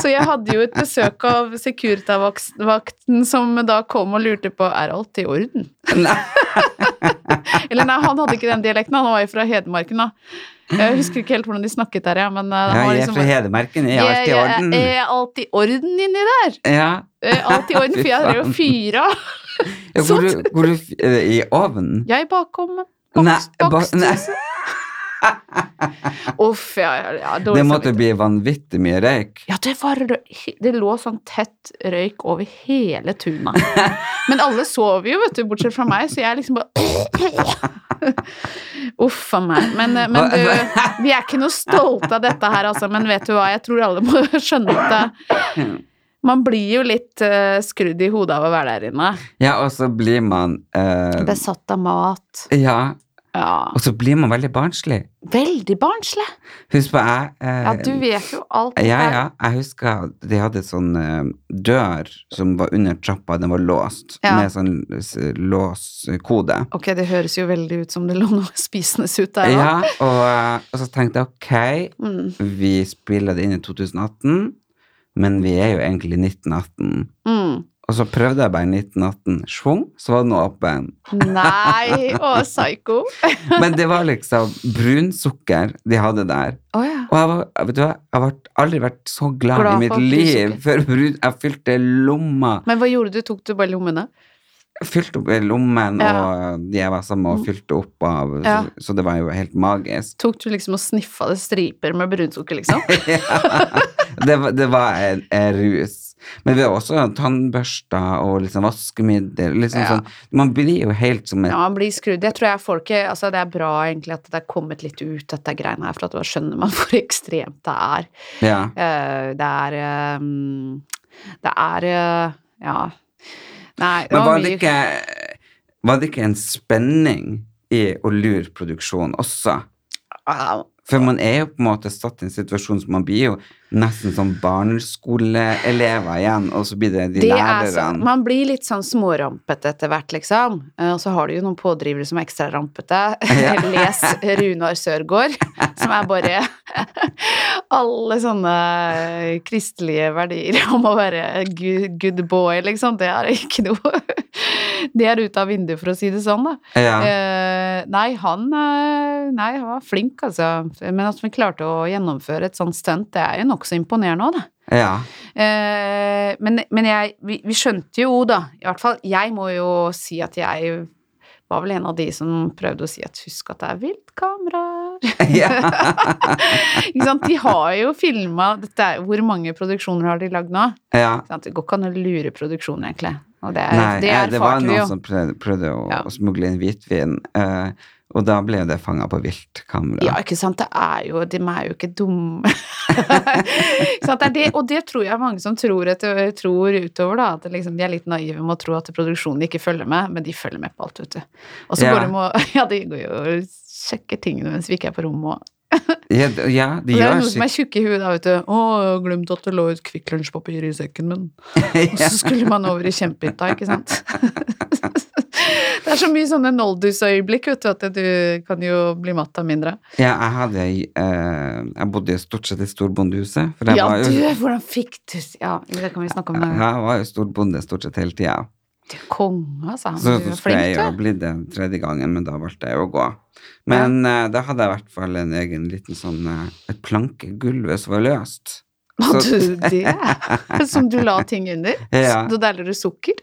så jeg hadde jo et besøk av Securitas-vakten som da kom og lurte på er alt i orden. Nei. Eller nei, han hadde ikke den dialekten, han var jo fra Hedmarken, da. Jeg husker ikke helt hvordan de snakket der, ja, men eh, Ja, han var jeg er liksom fra Hedmarken, jeg er alltid i orden. Er, er alt i orden inni der? Ja. Er alt [laughs] i orden, for jeg drev og fyra. Ja, Går du, går du f- er det i ovnen? Jeg bakom. Nei, Bakst, ba- bakst, nei. Uff, ja, ja, ja, [laughs] dårlig Det måtte samvittighet. bli vanvittig mye røyk. Ja, det var Det lå sånn tett røyk over hele [laughs] tuna. Men alle sov jo, vet du, bortsett fra meg, så jeg liksom bare [laughs] Uff a meg. Men, eh, men du, [laughs] vi er ikke noe stolte av dette her, altså. Men vet du hva, jeg tror alle må [laughs] skjønne [laughs] at det, man blir jo litt eh, skrudd i hodet av å være der inne. Ja, og så blir man eh, Besatt av mat. Ja, Ja. og så blir man veldig barnslig. Veldig barnslig. Husk på, jeg eh, Ja, du vet jo alt. ja, ja, jeg husker de hadde sånn eh, dør som var under trappa, den var låst, Ja. med sånn s- låskode. Ok, det høres jo veldig ut som det lå noe spisende ut der. da. Ja, og, eh, og så tenkte jeg ok, Mm, vi spiller det inn i 2018, men vi er jo egentlig 1918. mm. Og så prøvde jeg bare 1918, schwung, så var den åpen. Nei, å, psyko. Men det var liksom brunsukker de hadde der. Å ja. Og jeg, var, jeg vet du hva, jeg har aldri vært så glad, i Glad for mitt at du liv syklet. for brun. Jeg fylte lomma. Men hva gjorde du? Tok du bare lommene? Jeg fylte opp i lommen, Ja. og de jeg var sammen med, og fylte opp av. Ja. Så, så det var jo helt magisk. [laughs] Tok du liksom og sniffa det striper med brunsukker, liksom? Det, var- det var en, en rus. Men vi har også tannbørster og liksom vaskemiddel. Liksom Ja. sånn. Man blir jo helt som et Ja, man blir skrudd. Jeg tror jeg folket Altså, det er bra egentlig at det er kommet litt ut, dette greiene her, for at da skjønner man [laughs] hvor ekstremt det er. ja. Eh, Det er eh, mm, Det er eh, Ja. Nei, Men det var var det, mye ikke, var det ikke en spenning i å lure produksjonen også? Au. For man er jo på en måte satt i en situasjon som man blir jo nesten som barneskoleelever igjen, og så blir det de Det er sånn, lærerne. man blir litt sånn smårampete etter hvert, liksom. Eh, Og så har du jo noen pådrivere som er ekstra rampete. [laughs] [laughs] Les Runar Sørgaard, som er bare [laughs] alle sånne kristelige verdier om å være good, good boy, liksom. Det er ikke noe [laughs] Det er ute av vinduet, for å si det sånn, da. Ja. Eh, nei, han, eh, nei, han var flink, altså. Men at vi klarte å gjennomføre et sånt stunt, det er jo nokså imponerende òg, da. ja. [laughs] Eh, men men jeg, vi, vi skjønte jo da, i hvert fall jeg må jo si at jeg var vel en av de som prøvde å si at husk at det er viltkameraer. ja. [laughs] Ikke sant? De har jo filma Hvor mange produksjoner har de lagd nå? ja. [laughs] Ikke sant? Det går ikke an å lure produksjonen, egentlig. Og det, Nei, det ja, det var erfarte vi noen jo. som prøvde, prøvde å, Ja. å smugle inn hvitvin, eh, og da ble jo det fanga på viltkamera. Ja, ikke sant. Det er jo De er jo ikke dumme. [laughs] ikke sant? Det er det, og det tror jeg mange som tror, etter, tror utover, da. At liksom, de er litt naive med å tro at produksjonen ikke følger med, men de følger med på alt, vet du. Og [laughs] så Ja. går de og Ja, de går jo og sjekker tingene mens vi ikke er på rommet og Ja, d- ja de Det er gjør noen som sikkert er tjukke i huet da, vet du. 'Å, jeg har glemt at det lå et Kvikk Lunsj-papir i sekken min.' Og så skulle man over i kjempehytta, ikke sant? [laughs] Det er så mye sånne noldusøyeblikk, vet du, at du kan jo bli matt av mindre. [laughs] Ja, jeg hadde eh, Jeg bodde jo stort sett i storbondehuset. For jeg, Ja, var du, jo, hvordan fikk du s- Ja, det kan vi snakke om. det. jeg var jo storbonde stort sett hele tida. Du er konge, altså. Du Så, er så skulle jeg flink, jo du. bli det tredje gangen, men da valgte jeg jo å gå. Men eh, da hadde jeg i hvert fall en egen liten sånn eh, Et plankegulv som var løst. Hva Så- du det? Som du la ting under? [laughs] Ja. Så deler du sukker?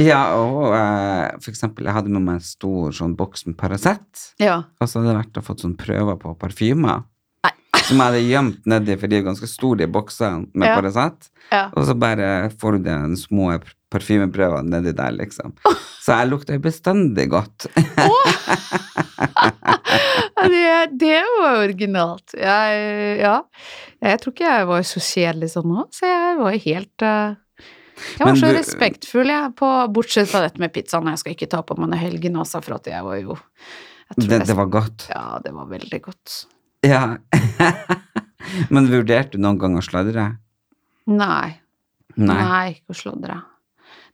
Ja, og eh, for eksempel, jeg hadde med meg en stor sånn boks med Paracet. Ja. Og så hadde jeg vært og fått sånn prøver på parfymer. [laughs] Som jeg hadde gjemt nedi, for de er jo ganske store, de boksene med Ja. Paracet. ja. Og så bare får du den små parfymeprøvene nedi der, [laughs] liksom. Så jeg lukter jo bestandig godt. Ja, Det, det var originalt. Jeg, ja. jeg tror ikke jeg var så kjedelig sånn nå, så jeg var helt eh, Jeg var Men så du- respektfull, jeg, på, bortsett fra dette med pizzaen. Jeg skal ikke ta på meg noe helgen, altså, for at jeg var jo jeg tror Det, jeg det var godt. Ja, det var veldig godt. Ja. [laughs] Men vurderte du noen gang å sladre? Nei. Nei. Nei, ikke å sladre.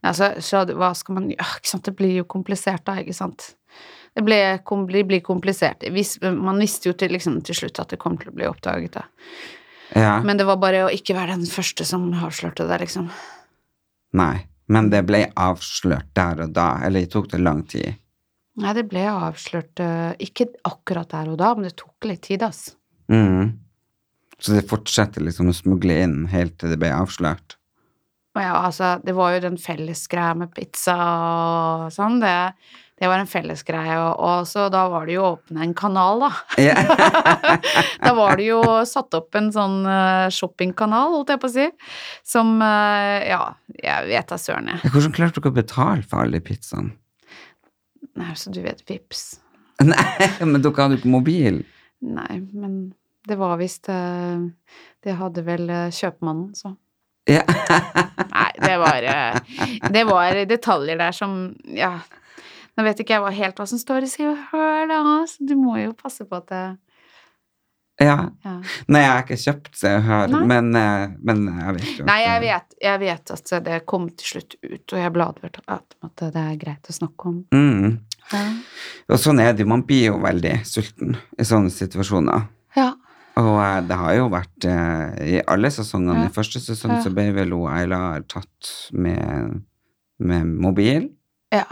Nei, så, så det- hva skal man gjøre? [laughs] Ikke sant? Det blir jo komplisert da, ikke sant? Det ble, kom, blir- blir komplisert. Hvis, man visste jo til, liksom, til slutt at det kom til å bli oppdaget, da. Ja. Men det var bare å ikke være den første som avslørte det, liksom. Nei. Men det ble avslørt der og da, eller det tok det lang tid. Nei, det ble avslørt eh, ikke akkurat der og da, men det tok litt tid, ass. Mhm. Så det fortsetter liksom å smugle inn helt til det ble avslørt. [laughs] Og ja, altså, det var jo den fellesgreia med pizza og sånn, det, det var en fellesgreie, og, og så da var det jo å åpne en kanal, da. Ja. da var det jo satt opp en sånn eh, shoppingkanal, holdt jeg på å si, som, eh, ja, jeg vet da søren jeg. Hvordan klarte dere å betale for alle pizzaene? Nei, så du vet, vips. Nei, men dere hadde jo ikke mobil. Nei, men det var visst, eh, det hadde vel eh, kjøpmannen, så. Ja. Nei, det var, eh, det var detaljer der som Ja. Nå vet ikke jeg hva helt hva som står i Se og Hør, da, så du må jo passe på at det ja. ja. Nei, jeg har ikke kjøpt Se og Hør, Nei. men, eh, men jeg vet jo at eh, Nei, jeg det- vet, jeg vet at det kom til slutt ut, og jeg ble advart om at det er greit å snakke om. Mm. Ja. Og sånn er det jo. Man blir jo veldig sulten i sånne situasjoner. ja. Og eh, det har jo vært eh, i alle sesongene. Ja. I første sesong Ja. så ble vel hun Aylar tatt med, med mobil. ja.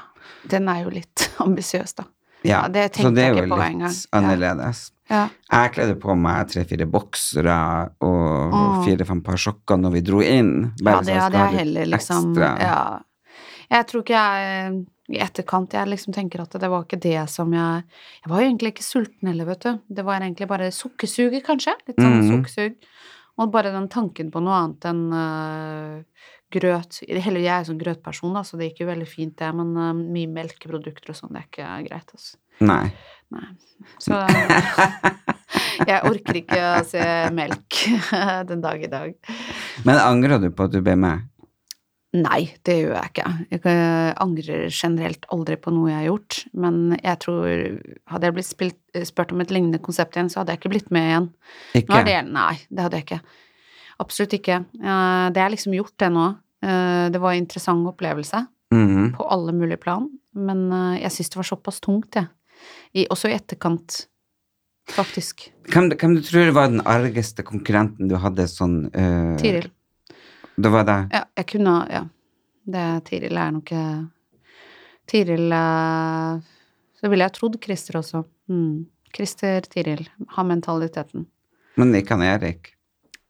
Den er jo litt [laughs] ambisiøs, da. Ja, Ja, det så tenkte det jeg er ikke jo på litt engang. Ja. annerledes. Ja. Jeg kledde på meg tre-fire boksere og Mm. fire-fem par sokker når vi dro inn. Ja, Bare det sånn, skal hadde ha jeg litt heller liksom ekstra. ja. Jeg tror ikke jeg eh, i etterkant Jeg liksom tenker at det var ikke det som jeg Jeg var jo egentlig ikke sulten heller, vet du. Det var egentlig bare sukkersuget, kanskje. Litt sånn Mhm. sukkersug. Og bare den tanken på noe annet enn øh, grøt Heller jeg er sånn grøtperson, da, så det gikk jo veldig fint, det, men øh, mye melkeprodukter og sånn, det er ikke greit, altså. Nei. Nei. [laughs] Så jeg orker ikke å se melk [laughs] den dag i dag. Men angrer du på at du ble med? Nei, det gjør jeg ikke. Jeg eh, angrer generelt aldri på noe jeg har gjort, men jeg tror Hadde jeg blitt spilt, eh, spurt om et lignende konsept igjen, så hadde jeg ikke blitt med igjen. Nå Ikke? er det, nei, det hadde jeg ikke. Absolutt ikke. Eh, Det er liksom gjort, det nå. Eh, Det var en interessant opplevelse Mhm. på alle mulige plan, men eh, jeg syns det var såpass tungt, jeg. I- Også i etterkant, faktisk. Hvem, hvem du tror var den argeste konkurrenten du hadde sånn eh, Tiril. Det var deg? Ja, jeg kunne ha- Ja. Det Tiril er nok eh, Tiril eh, Så ville jeg trodd Christer også. Mm. Christer Tiril har mentaliteten. Men ikke han Erik?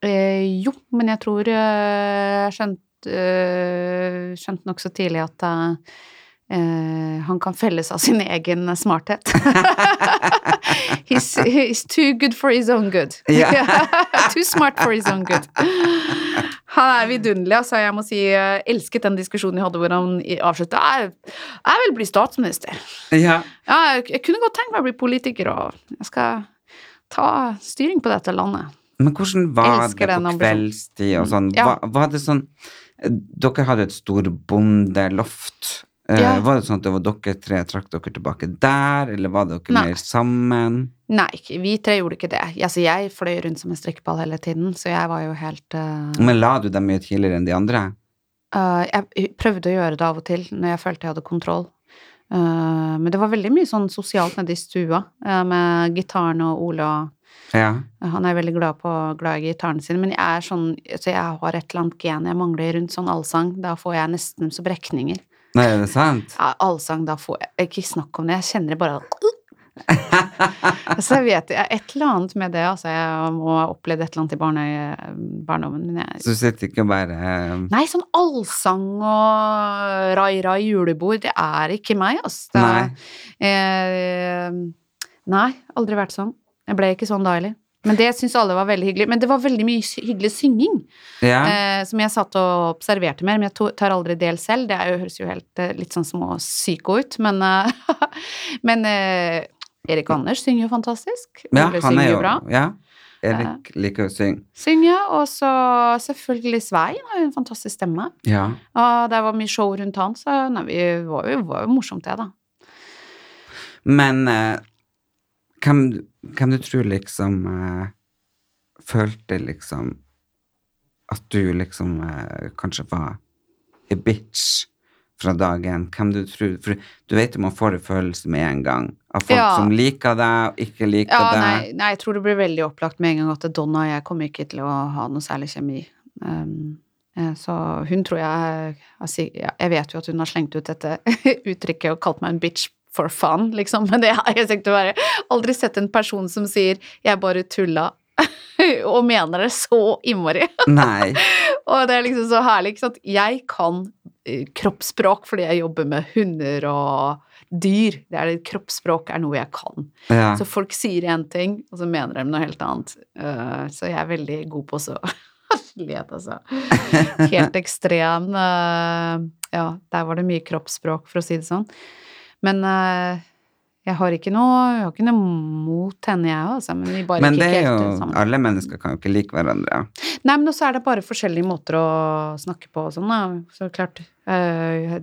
Eh, jo, men jeg tror eh, jeg skjønte eh, skjønte nokså tidlig at eh, eh, han kan felles av sin egen smarthet. [laughs] he's, he's too good for his own good. [laughs] Ja. too smart for his own good. Han er vidunderlig, altså. Jeg må si jeg elsket den diskusjonen jeg hadde hvor han i- avslutta jeg, jeg vil bli statsminister. Ja. Ja, jeg, jeg kunne godt tenkt meg å bli politiker, og jeg skal ta styring på dette landet. Men hvordan var Elsker det på den ambisjonen. kveldstid og sånn? Ja. Var, var det sånn Dere hadde et storbondeloft Eh, Ja. Var det sånn at det var dere tre trakk dere tilbake der, eller var dere Nei. mer sammen? Nei, ikke- vi tre gjorde ikke det. Altså, jeg fløy rundt som en strikkeball hele tiden, så jeg var jo helt eh, Men la du dem mye tidligere enn de andre? Eh, jeg prøvde å gjøre det av og til når jeg følte jeg hadde kontroll. Eh, men det var veldig mye sånn sosialt nede i stua eh, med gitaren og Ola. Ja. Han er veldig glad, på, glad i gitarene sine, men jeg er sånn Så jeg har et eller annet gen jeg mangler rundt sånn allsang. Da får jeg nesten så brekninger. Nei, er det sant? Ja, allsang, da får jeg Ikke snakk om det, jeg kjenner det bare Så jeg vet jeg, Et eller annet med det, altså. Jeg må ha opplevd et eller annet i barne, barndommen, men jeg Så du sitter ikke og bare eh, Nei, sånn allsang og rai-rai julebord, det er ikke meg, ass. Det Nei. Er, eh, nei, aldri vært sånn. Jeg ble ikke sånn da heller. Men det syns alle var veldig hyggelig. Men det var veldig mye sy- hyggelig synging Ja. eh, som jeg satt og observerte mer. Men jeg to- tar aldri del selv. Det er jo, høres jo helt eh, litt sånn småpsyko ut, men eh, [laughs] Men eh, Erik Anders synger jo fantastisk. ja, Ole han synger er jo jo bra. Eh. Ja. Erik liker å synge. Synge, og så selvfølgelig Svein har jo en fantastisk stemme. Ja. Og det var mye show rundt han, så nei, vi var jo, var jo morsomt det, da. Men eh, hvem, hvem du tror liksom eh, følte liksom at du liksom eh, kanskje var a bitch fra dagen? Hvem du tror For du vet jo man får en følelse med en gang av folk Ja. som liker deg og ikke liker Ja, deg. nei, nei, jeg tror det ble veldig opplagt med en gang at Donna og jeg kommer ikke til å ha noe særlig kjemi. Um, eh, så hun tror jeg altså, ja, Jeg vet jo at hun har slengt ut dette [laughs] uttrykket og kalt meg en bitch for fun, liksom, men det har jeg sikkert bare aldri sett en person som sier 'jeg bare tulla', [laughs] og mener det så innmari. [laughs] [laughs] Nei. Og det er liksom så herlig, ikke sant. Jeg kan eh, kroppsspråk fordi jeg jobber med hunder og dyr. Det er det, kroppsspråk er noe jeg kan. Ja. [laughs] Så folk sier én ting, og så mener de noe helt annet. Eh, så jeg er veldig god på [laughs] så Let, altså. Helt ekstrem. eh, ja, der var det mye kroppsspråk, for å si det sånn. Men eh, jeg har ikke noe, jeg har ikke noe mot henne, jeg òg, altså. Men vi bare Men gikk det ikke er helt jo sammen. Alle mennesker kan jo ikke like hverandre. Nei, men også er det bare forskjellige måter å snakke på og sånn, da. Så klart. eh,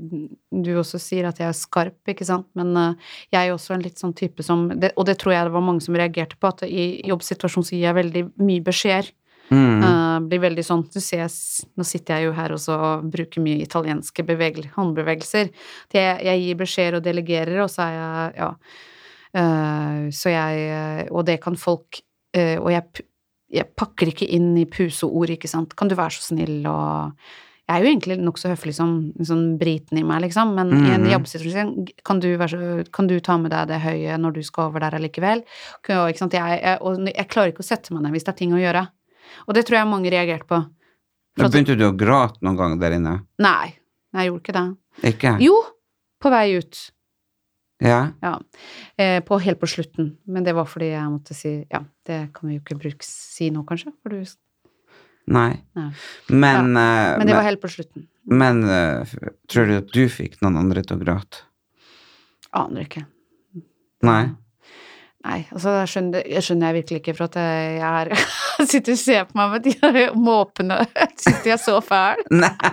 du også sier at jeg er skarp, ikke sant, men eh, jeg er jo også en litt sånn type som det, Og det tror jeg det var mange som reagerte på, at i jobbsituasjonen så gir jeg veldig mye beskjeder. Mm. Eh, blir veldig sånn Du ser, jeg s- nå sitter jeg jo her også og bruker mye italienske bevegel- håndbevegelser. Det, jeg gir beskjeder og delegerer, og så er jeg Ja. Eh, så jeg Og det kan folk eh, Og jeg, p- jeg pakker ikke inn i puseord, ikke sant. Kan du være så snill og jeg er jo egentlig nokså høflig som sånn briten i meg, liksom, men i en Mhm. jobbsituasjon kan du, være så, kan du ta med deg det høye når du skal over der allikevel? Kan- Ikke sant? Jeg, jeg, og jeg klarer ikke å sette meg ned hvis det er ting å gjøre. Og det tror jeg mange reagerte på. For Da at- begynte du å gråte noen gang der inne. Nei, nei, jeg gjorde ikke det. Ikke? Jo, på vei ut. Ja. Ja. Eh, på, helt på slutten. Men det var fordi jeg måtte si Ja, det kan vi jo ikke bruke si nå, kanskje. For du, Nei. Nei. Men, eh, men det var helt på slutten. Men eh, tror du at du fikk noen andre til å gråte? Aner ikke. Nei? Nei, altså jeg skjønner, jeg skjønner jeg virkelig ikke for at eh, jeg er [laughs] Sitter og ser på meg med de [laughs] måpene Sitter jeg så fæl? Nei,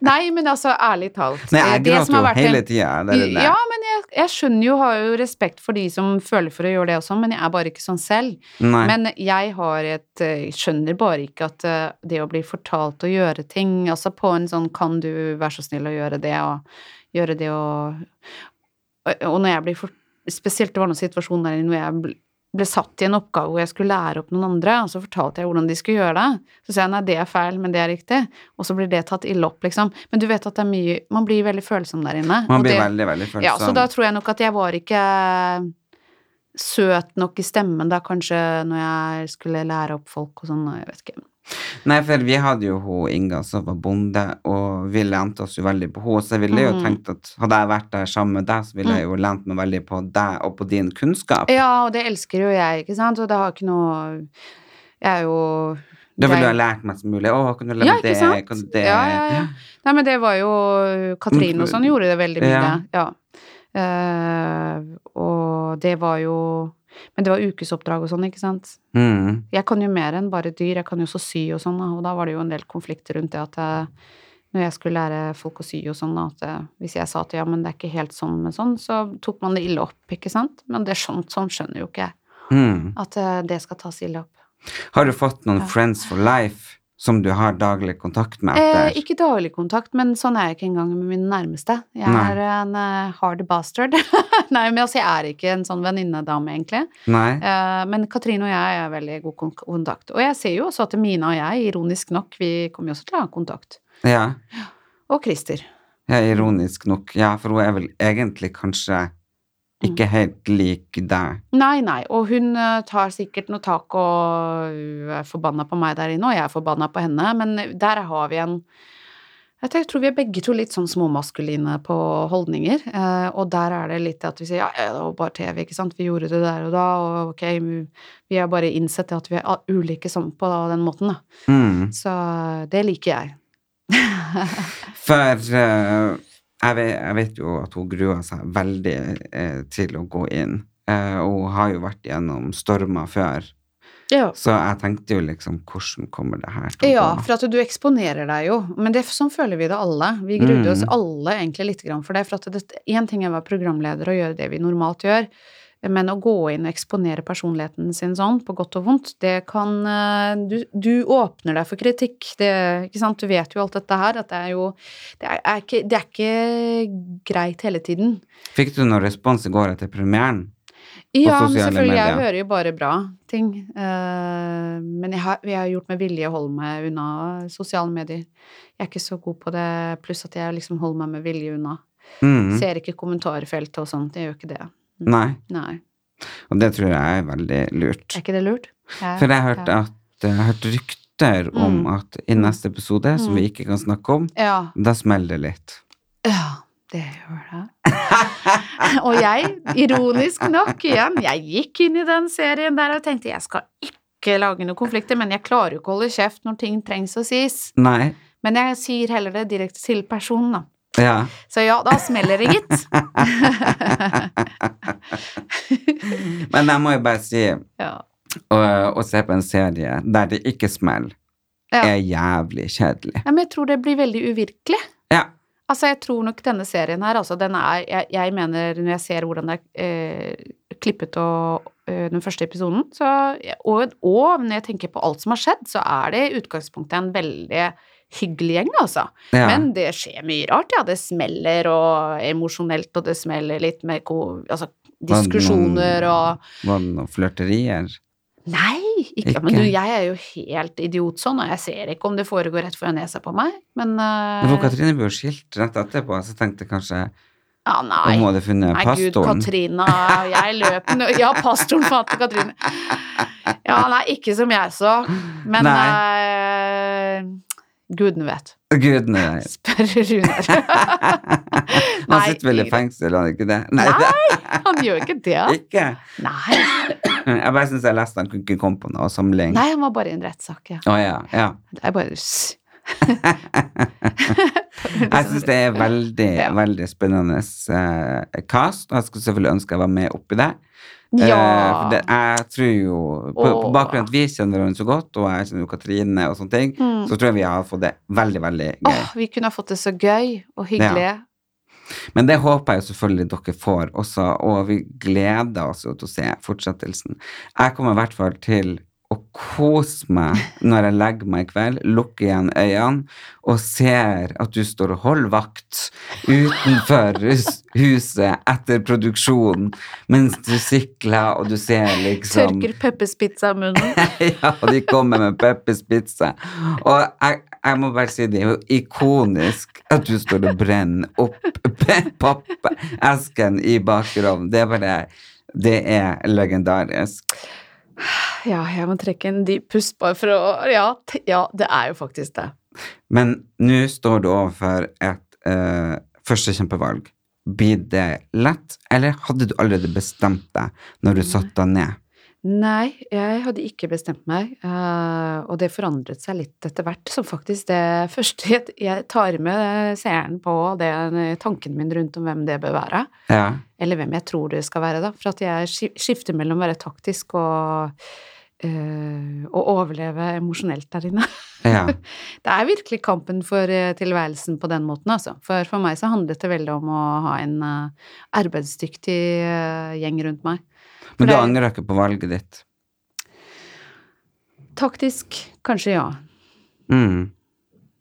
Nei, men altså, ærlig talt Nei eh, jeg det gråter som har jo vært en- hele tida. Det er det der. Ja, men jeg, jeg skjønner jo, har jo respekt for de som føler for å gjøre det og sånn, men jeg er bare ikke sånn selv. Nei. Men jeg har et eh, skjønner bare ikke at eh, det å bli fortalt å gjøre ting, altså på en sånn kan du være så snill å gjøre det og gjøre det og Og, og når jeg blir for, Spesielt det var noen situasjoner der hvor jeg bl- ble satt i en oppgave hvor jeg skulle lære opp noen andre, og så fortalte jeg hvordan de skulle gjøre det. Så sa jeg nei, det er feil, men det er riktig. Og så blir det tatt ille opp, liksom. Men du vet at det er mye Man blir veldig følsom der inne. og Man blir det, veldig, veldig følsom. ja, så da tror jeg nok at jeg var ikke eh, søt nok i stemmen da, kanskje, når jeg skulle lære opp folk og sånn, og jeg vet ikke. Nei, for vi hadde jo hun Inga som var bonde, og vi lente oss jo veldig på henne. Så jeg ville jo Mm. tenkt at hadde jeg vært der sammen med deg, så ville jeg jo lent meg veldig på deg og på din kunnskap. Ja, og det elsker jo jeg, ikke sant, og det har ikke noe Jeg er jo Da ville du jeg- ha lært meg som mulig. Å, kan du lære Ja, meg ikke det? sant? Kan du det? Ja, ja, ja. Nei, men det var jo Katrine og sånn gjorde det veldig mye. Ja. Ja. Eh, og det var jo Men det var ukesoppdrag og sånn, ikke sant. Mm. Jeg kan jo mer enn bare dyr, jeg kan jo også sy og sånn, og da var det jo en del konflikter rundt det at jeg når jeg skulle lære folk å sy og sånn, at eh, hvis jeg sa at ja, men det er ikke helt sånn med sånn, så tok man det ille opp, ikke sant? Men det er sånn, sånn skjønner jo ikke jeg. Mm. At eh, det skal tas ille opp. Har du fått noen Ja. friends for life som du har daglig kontakt med Eh, etter? ikke daglig kontakt, men sånn er jeg ikke engang med mine nærmeste. Jeg Nei. er en eh, hard bastard. [laughs] Nei, men altså, jeg er ikke en sånn venninnedame, egentlig. Nei? Eh, men Katrine og jeg er veldig god kon- kontakt. Og jeg ser jo også at Mina og jeg, ironisk nok, vi kommer jo også til å ha kontakt. Ja. Og Christer. ja, ironisk nok. Ja, for hun er vel egentlig kanskje Mm. ikke helt lik deg. Nei, nei, og hun eh, tar sikkert noe tak og hun er forbanna på meg der inne, og jeg er forbanna på henne, men der har vi en Jeg tenker- tror vi er begge to litt sånn småmaskuline på holdninger, eh, og der er det litt at vi sier ja, ja, det var bare TV, ikke sant, vi gjorde det der og da, og ok, vi har bare innsett at vi er a- ulike sånn på den måten, da. Mm. Så eh, det liker jeg. For eh, jeg, vet, jeg vet jo at hun gruer seg veldig eh, til å gå inn. Eh, og hun har jo vært gjennom stormer før. Ja. Så jeg tenkte jo liksom, hvordan kommer det her til å Ja, gå? for at du eksponerer deg jo. Men det, sånn føler vi det alle. Vi grudde oss Mm. alle egentlig litt grann for det. For at én ting er å være programleder og gjøre det vi normalt gjør, men å gå inn og eksponere personligheten sin sånn, på godt og vondt, det kan eh, Du, du åpner deg for kritikk, det, ikke sant. Du vet jo alt dette her, at det er jo Det er, er, ikke, det er ikke greit hele tiden. Fikk du noen respons i går etter premieren? Ja, men sosiale selvfølgelig. Jeg medier. hører jo bare bra ting. Eh, men jeg har, jeg har gjort med vilje å holde meg unna sosiale medier. Jeg er ikke så god på det, pluss at jeg liksom holder meg med vilje unna. Mm. Ser ikke kommentarfeltet og sånt. Jeg gjør ikke det. Nei. Nei. Og det tror jeg er veldig lurt. Er ikke det lurt? Jeg- For jeg hørte at jeg har hørt rykter om Mm. at i neste episode, som Mm. vi ikke kan snakke om, Ja. da smeller det litt. Ja, det gjør det. [laughs] og jeg, ironisk nok igjen, jeg gikk inn i den serien der og tenkte jeg skal ikke lage noen konflikter, men jeg klarer jo ikke å holde kjeft når ting trengs å sies. Nei. Men jeg sier heller det direkte til personen, da. Ja. Så ja, da smeller det, gitt. [laughs] Men jeg må jo bare si ja. å, å se på en serie der det ikke smeller, Ja. er jævlig kjedelig. ja, men jeg tror det blir veldig uvirkelig. Ja. Altså, jeg tror nok denne serien her, altså, den er Jeg, jeg mener, når jeg ser hvordan det er eh, klippet og eh, den første episoden, så og, og når jeg tenker på alt som har skjedd, så er det i utgangspunktet en veldig hyggelig gjeng, altså. ja. Men det skjer mye rart, ja. Det smeller og emosjonelt, og det smeller litt med ko, altså, Var det noen- diskusjoner og Var det noen flørterier? Nei, ikke, Ikke? men du, jeg er jo helt idiot sånn, og jeg ser ikke om det foregår rett foran nesa på meg, men eh, Men For Katrine ble jo skilt rett etterpå, så tenkte jeg kanskje ja, om hun nei. hadde funnet Nei, gud, pastoren. Katrina, jeg løp nå Ja, pastoren fant Katrine. Ja, nei, ikke som jeg så, men eh, Gudene vet. Gud, nei. Spør Runar. [laughs] Han Nei, sitter vel i ikke- fengsel, han er ikke det? Nei, han gjør ikke det. [laughs] Ikke? Nei, Jeg bare syns jeg leste han kunne ikke komme på noe samling. nei han var bare i en rettssak, ja. Å ja, ja. Det er bare s- [laughs] Jeg syns det er veldig, Ja. veldig spennende eh, cast, og jeg skulle selvfølgelig ønske jeg var med oppi det. Eh, Ja. for det, jeg tror jo På, på Åh. bakgrunn av at vi kjenner hverandre så godt, og jeg kjenner jo Katrine og sånne ting, Mm. så tror jeg vi har fått det veldig, veldig gøy. Åh, vi kunne ha fått det så gøy og hyggelig. Men det håper jeg jo selvfølgelig dere får også, og vi gleder oss jo til å se fortsettelsen. Jeg kommer i hvert fall til å kose meg når jeg legger meg i kveld, lukker igjen øynene og ser at du står og holder vakt utenfor hus- huset etter produksjonen mens du sikler og du ser liksom Tørker pepperspizza i munnen. [laughs] ja, og de kommer med Peppers pizza. Og jeg, jeg må bare si det er jo ikonisk at du står og brenner opp [laughs] pe- pappesken i bakerovnen. Det er bare Det er legendarisk. [laughs] Ja, jeg må trekke en dyp pust bare for å ja, t ja, det er jo faktisk det. Men nå står du overfor et eh, første kjempevalg. Blir det lett, eller hadde du allerede bestemt deg når du satte deg ned? Nei, jeg hadde ikke bestemt meg, eh, og det forandret seg litt etter hvert. Så faktisk det første jeg- jeg tar med seeren på det, tanken min rundt om hvem det bør være. Ja. eller hvem jeg tror det skal være, da. For at jeg ski- skifter mellom å være taktisk og eh, eh, å overleve emosjonelt der inne. Ja. Det er virkelig kampen for eh, tilværelsen på den måten, altså. For for meg så handlet det veldig om å ha en eh, arbeidsdyktig eh, gjeng rundt meg. For Men du det- angrer ikke på valget ditt? Taktisk, kanskje ja. Mm.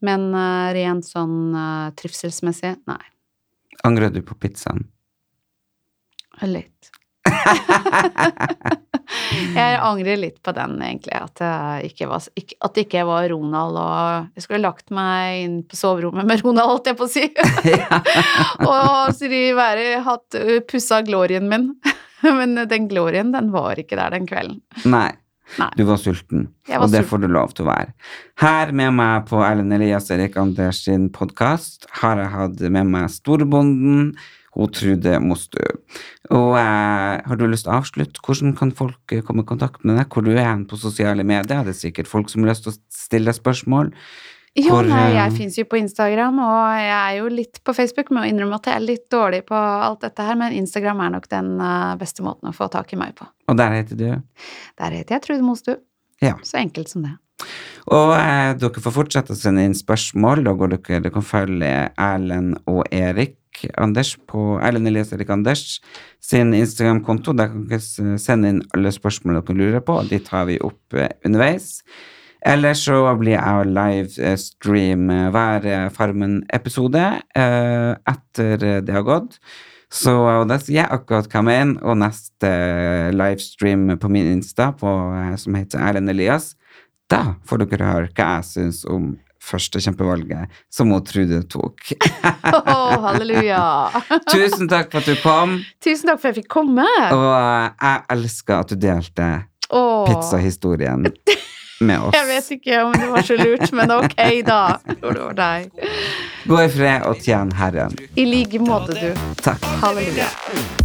Men eh, rent sånn eh, trivselsmessig, nei. Angrer du på pizzaen? Litt. jeg angrer litt på den, egentlig. At det ikke var, ikke- at det ikke var Ronald og Jeg skulle lagt meg inn på soverommet med Ronald, holdt jeg på å si. [laughs] og så de være, hatt uh, pussa glorien min. [laughs] Men den glorien, den var ikke der den kvelden. Nei. Nei. Du var sulten, Jeg var og det sulten. får du lov til å være. Her med meg på Erlend Elias Erik Anders sin podkast har jeg hatt med meg storbonden, hun Trude Mostu. Og eh, har du lyst til å avslutte? Hvordan kan folk eh, komme i kontakt med deg? Hvor du er hen på sosiale medier? Det er sikkert folk som har lyst til å stille deg spørsmål. Jo, Hvor, nei, jeg eh, fins jo på Instagram, og jeg er jo litt på Facebook. Må innrømme at jeg er litt dårlig på alt dette her, men Instagram er nok den eh, beste måten å få tak i meg på. Og der heter du? Der heter jeg Trude Mostu. Ja. Så enkelt som [laughs] det. Og eh, dere får fortsette å sende inn spørsmål. Da går dere, dere kan følge Erlend og Erik Anders på Erlend Elias Erik Anders sin Instagram-konto. Der kan dere s- sende inn alle spørsmål dere lurer på, og de tar vi opp eh, underveis. Eller så blir jeg livestream hver eh, Farmen-episode eh, etter eh, det har gått. Så og da sier jeg akkurat hva jeg mener, og neste livestream på min Insta, på, eh, som heter Erlend Elias, da får dere høre hva jeg syns om førstekjempevalget som hun Trude [laughs] tok. Å, halleluja! Tusen takk for at du kom, [laughs] Tusen takk for at jeg fikk komme. og jeg elsker at du delte Åh, pizzahistorien med [laughs] Jeg vet oss. ikke om det var så lurt, men ok, [laughs] da. Tror det var deg. Gå i fred og tjen Herren. I like måte, du. Takk. Halleluja. Halleluja.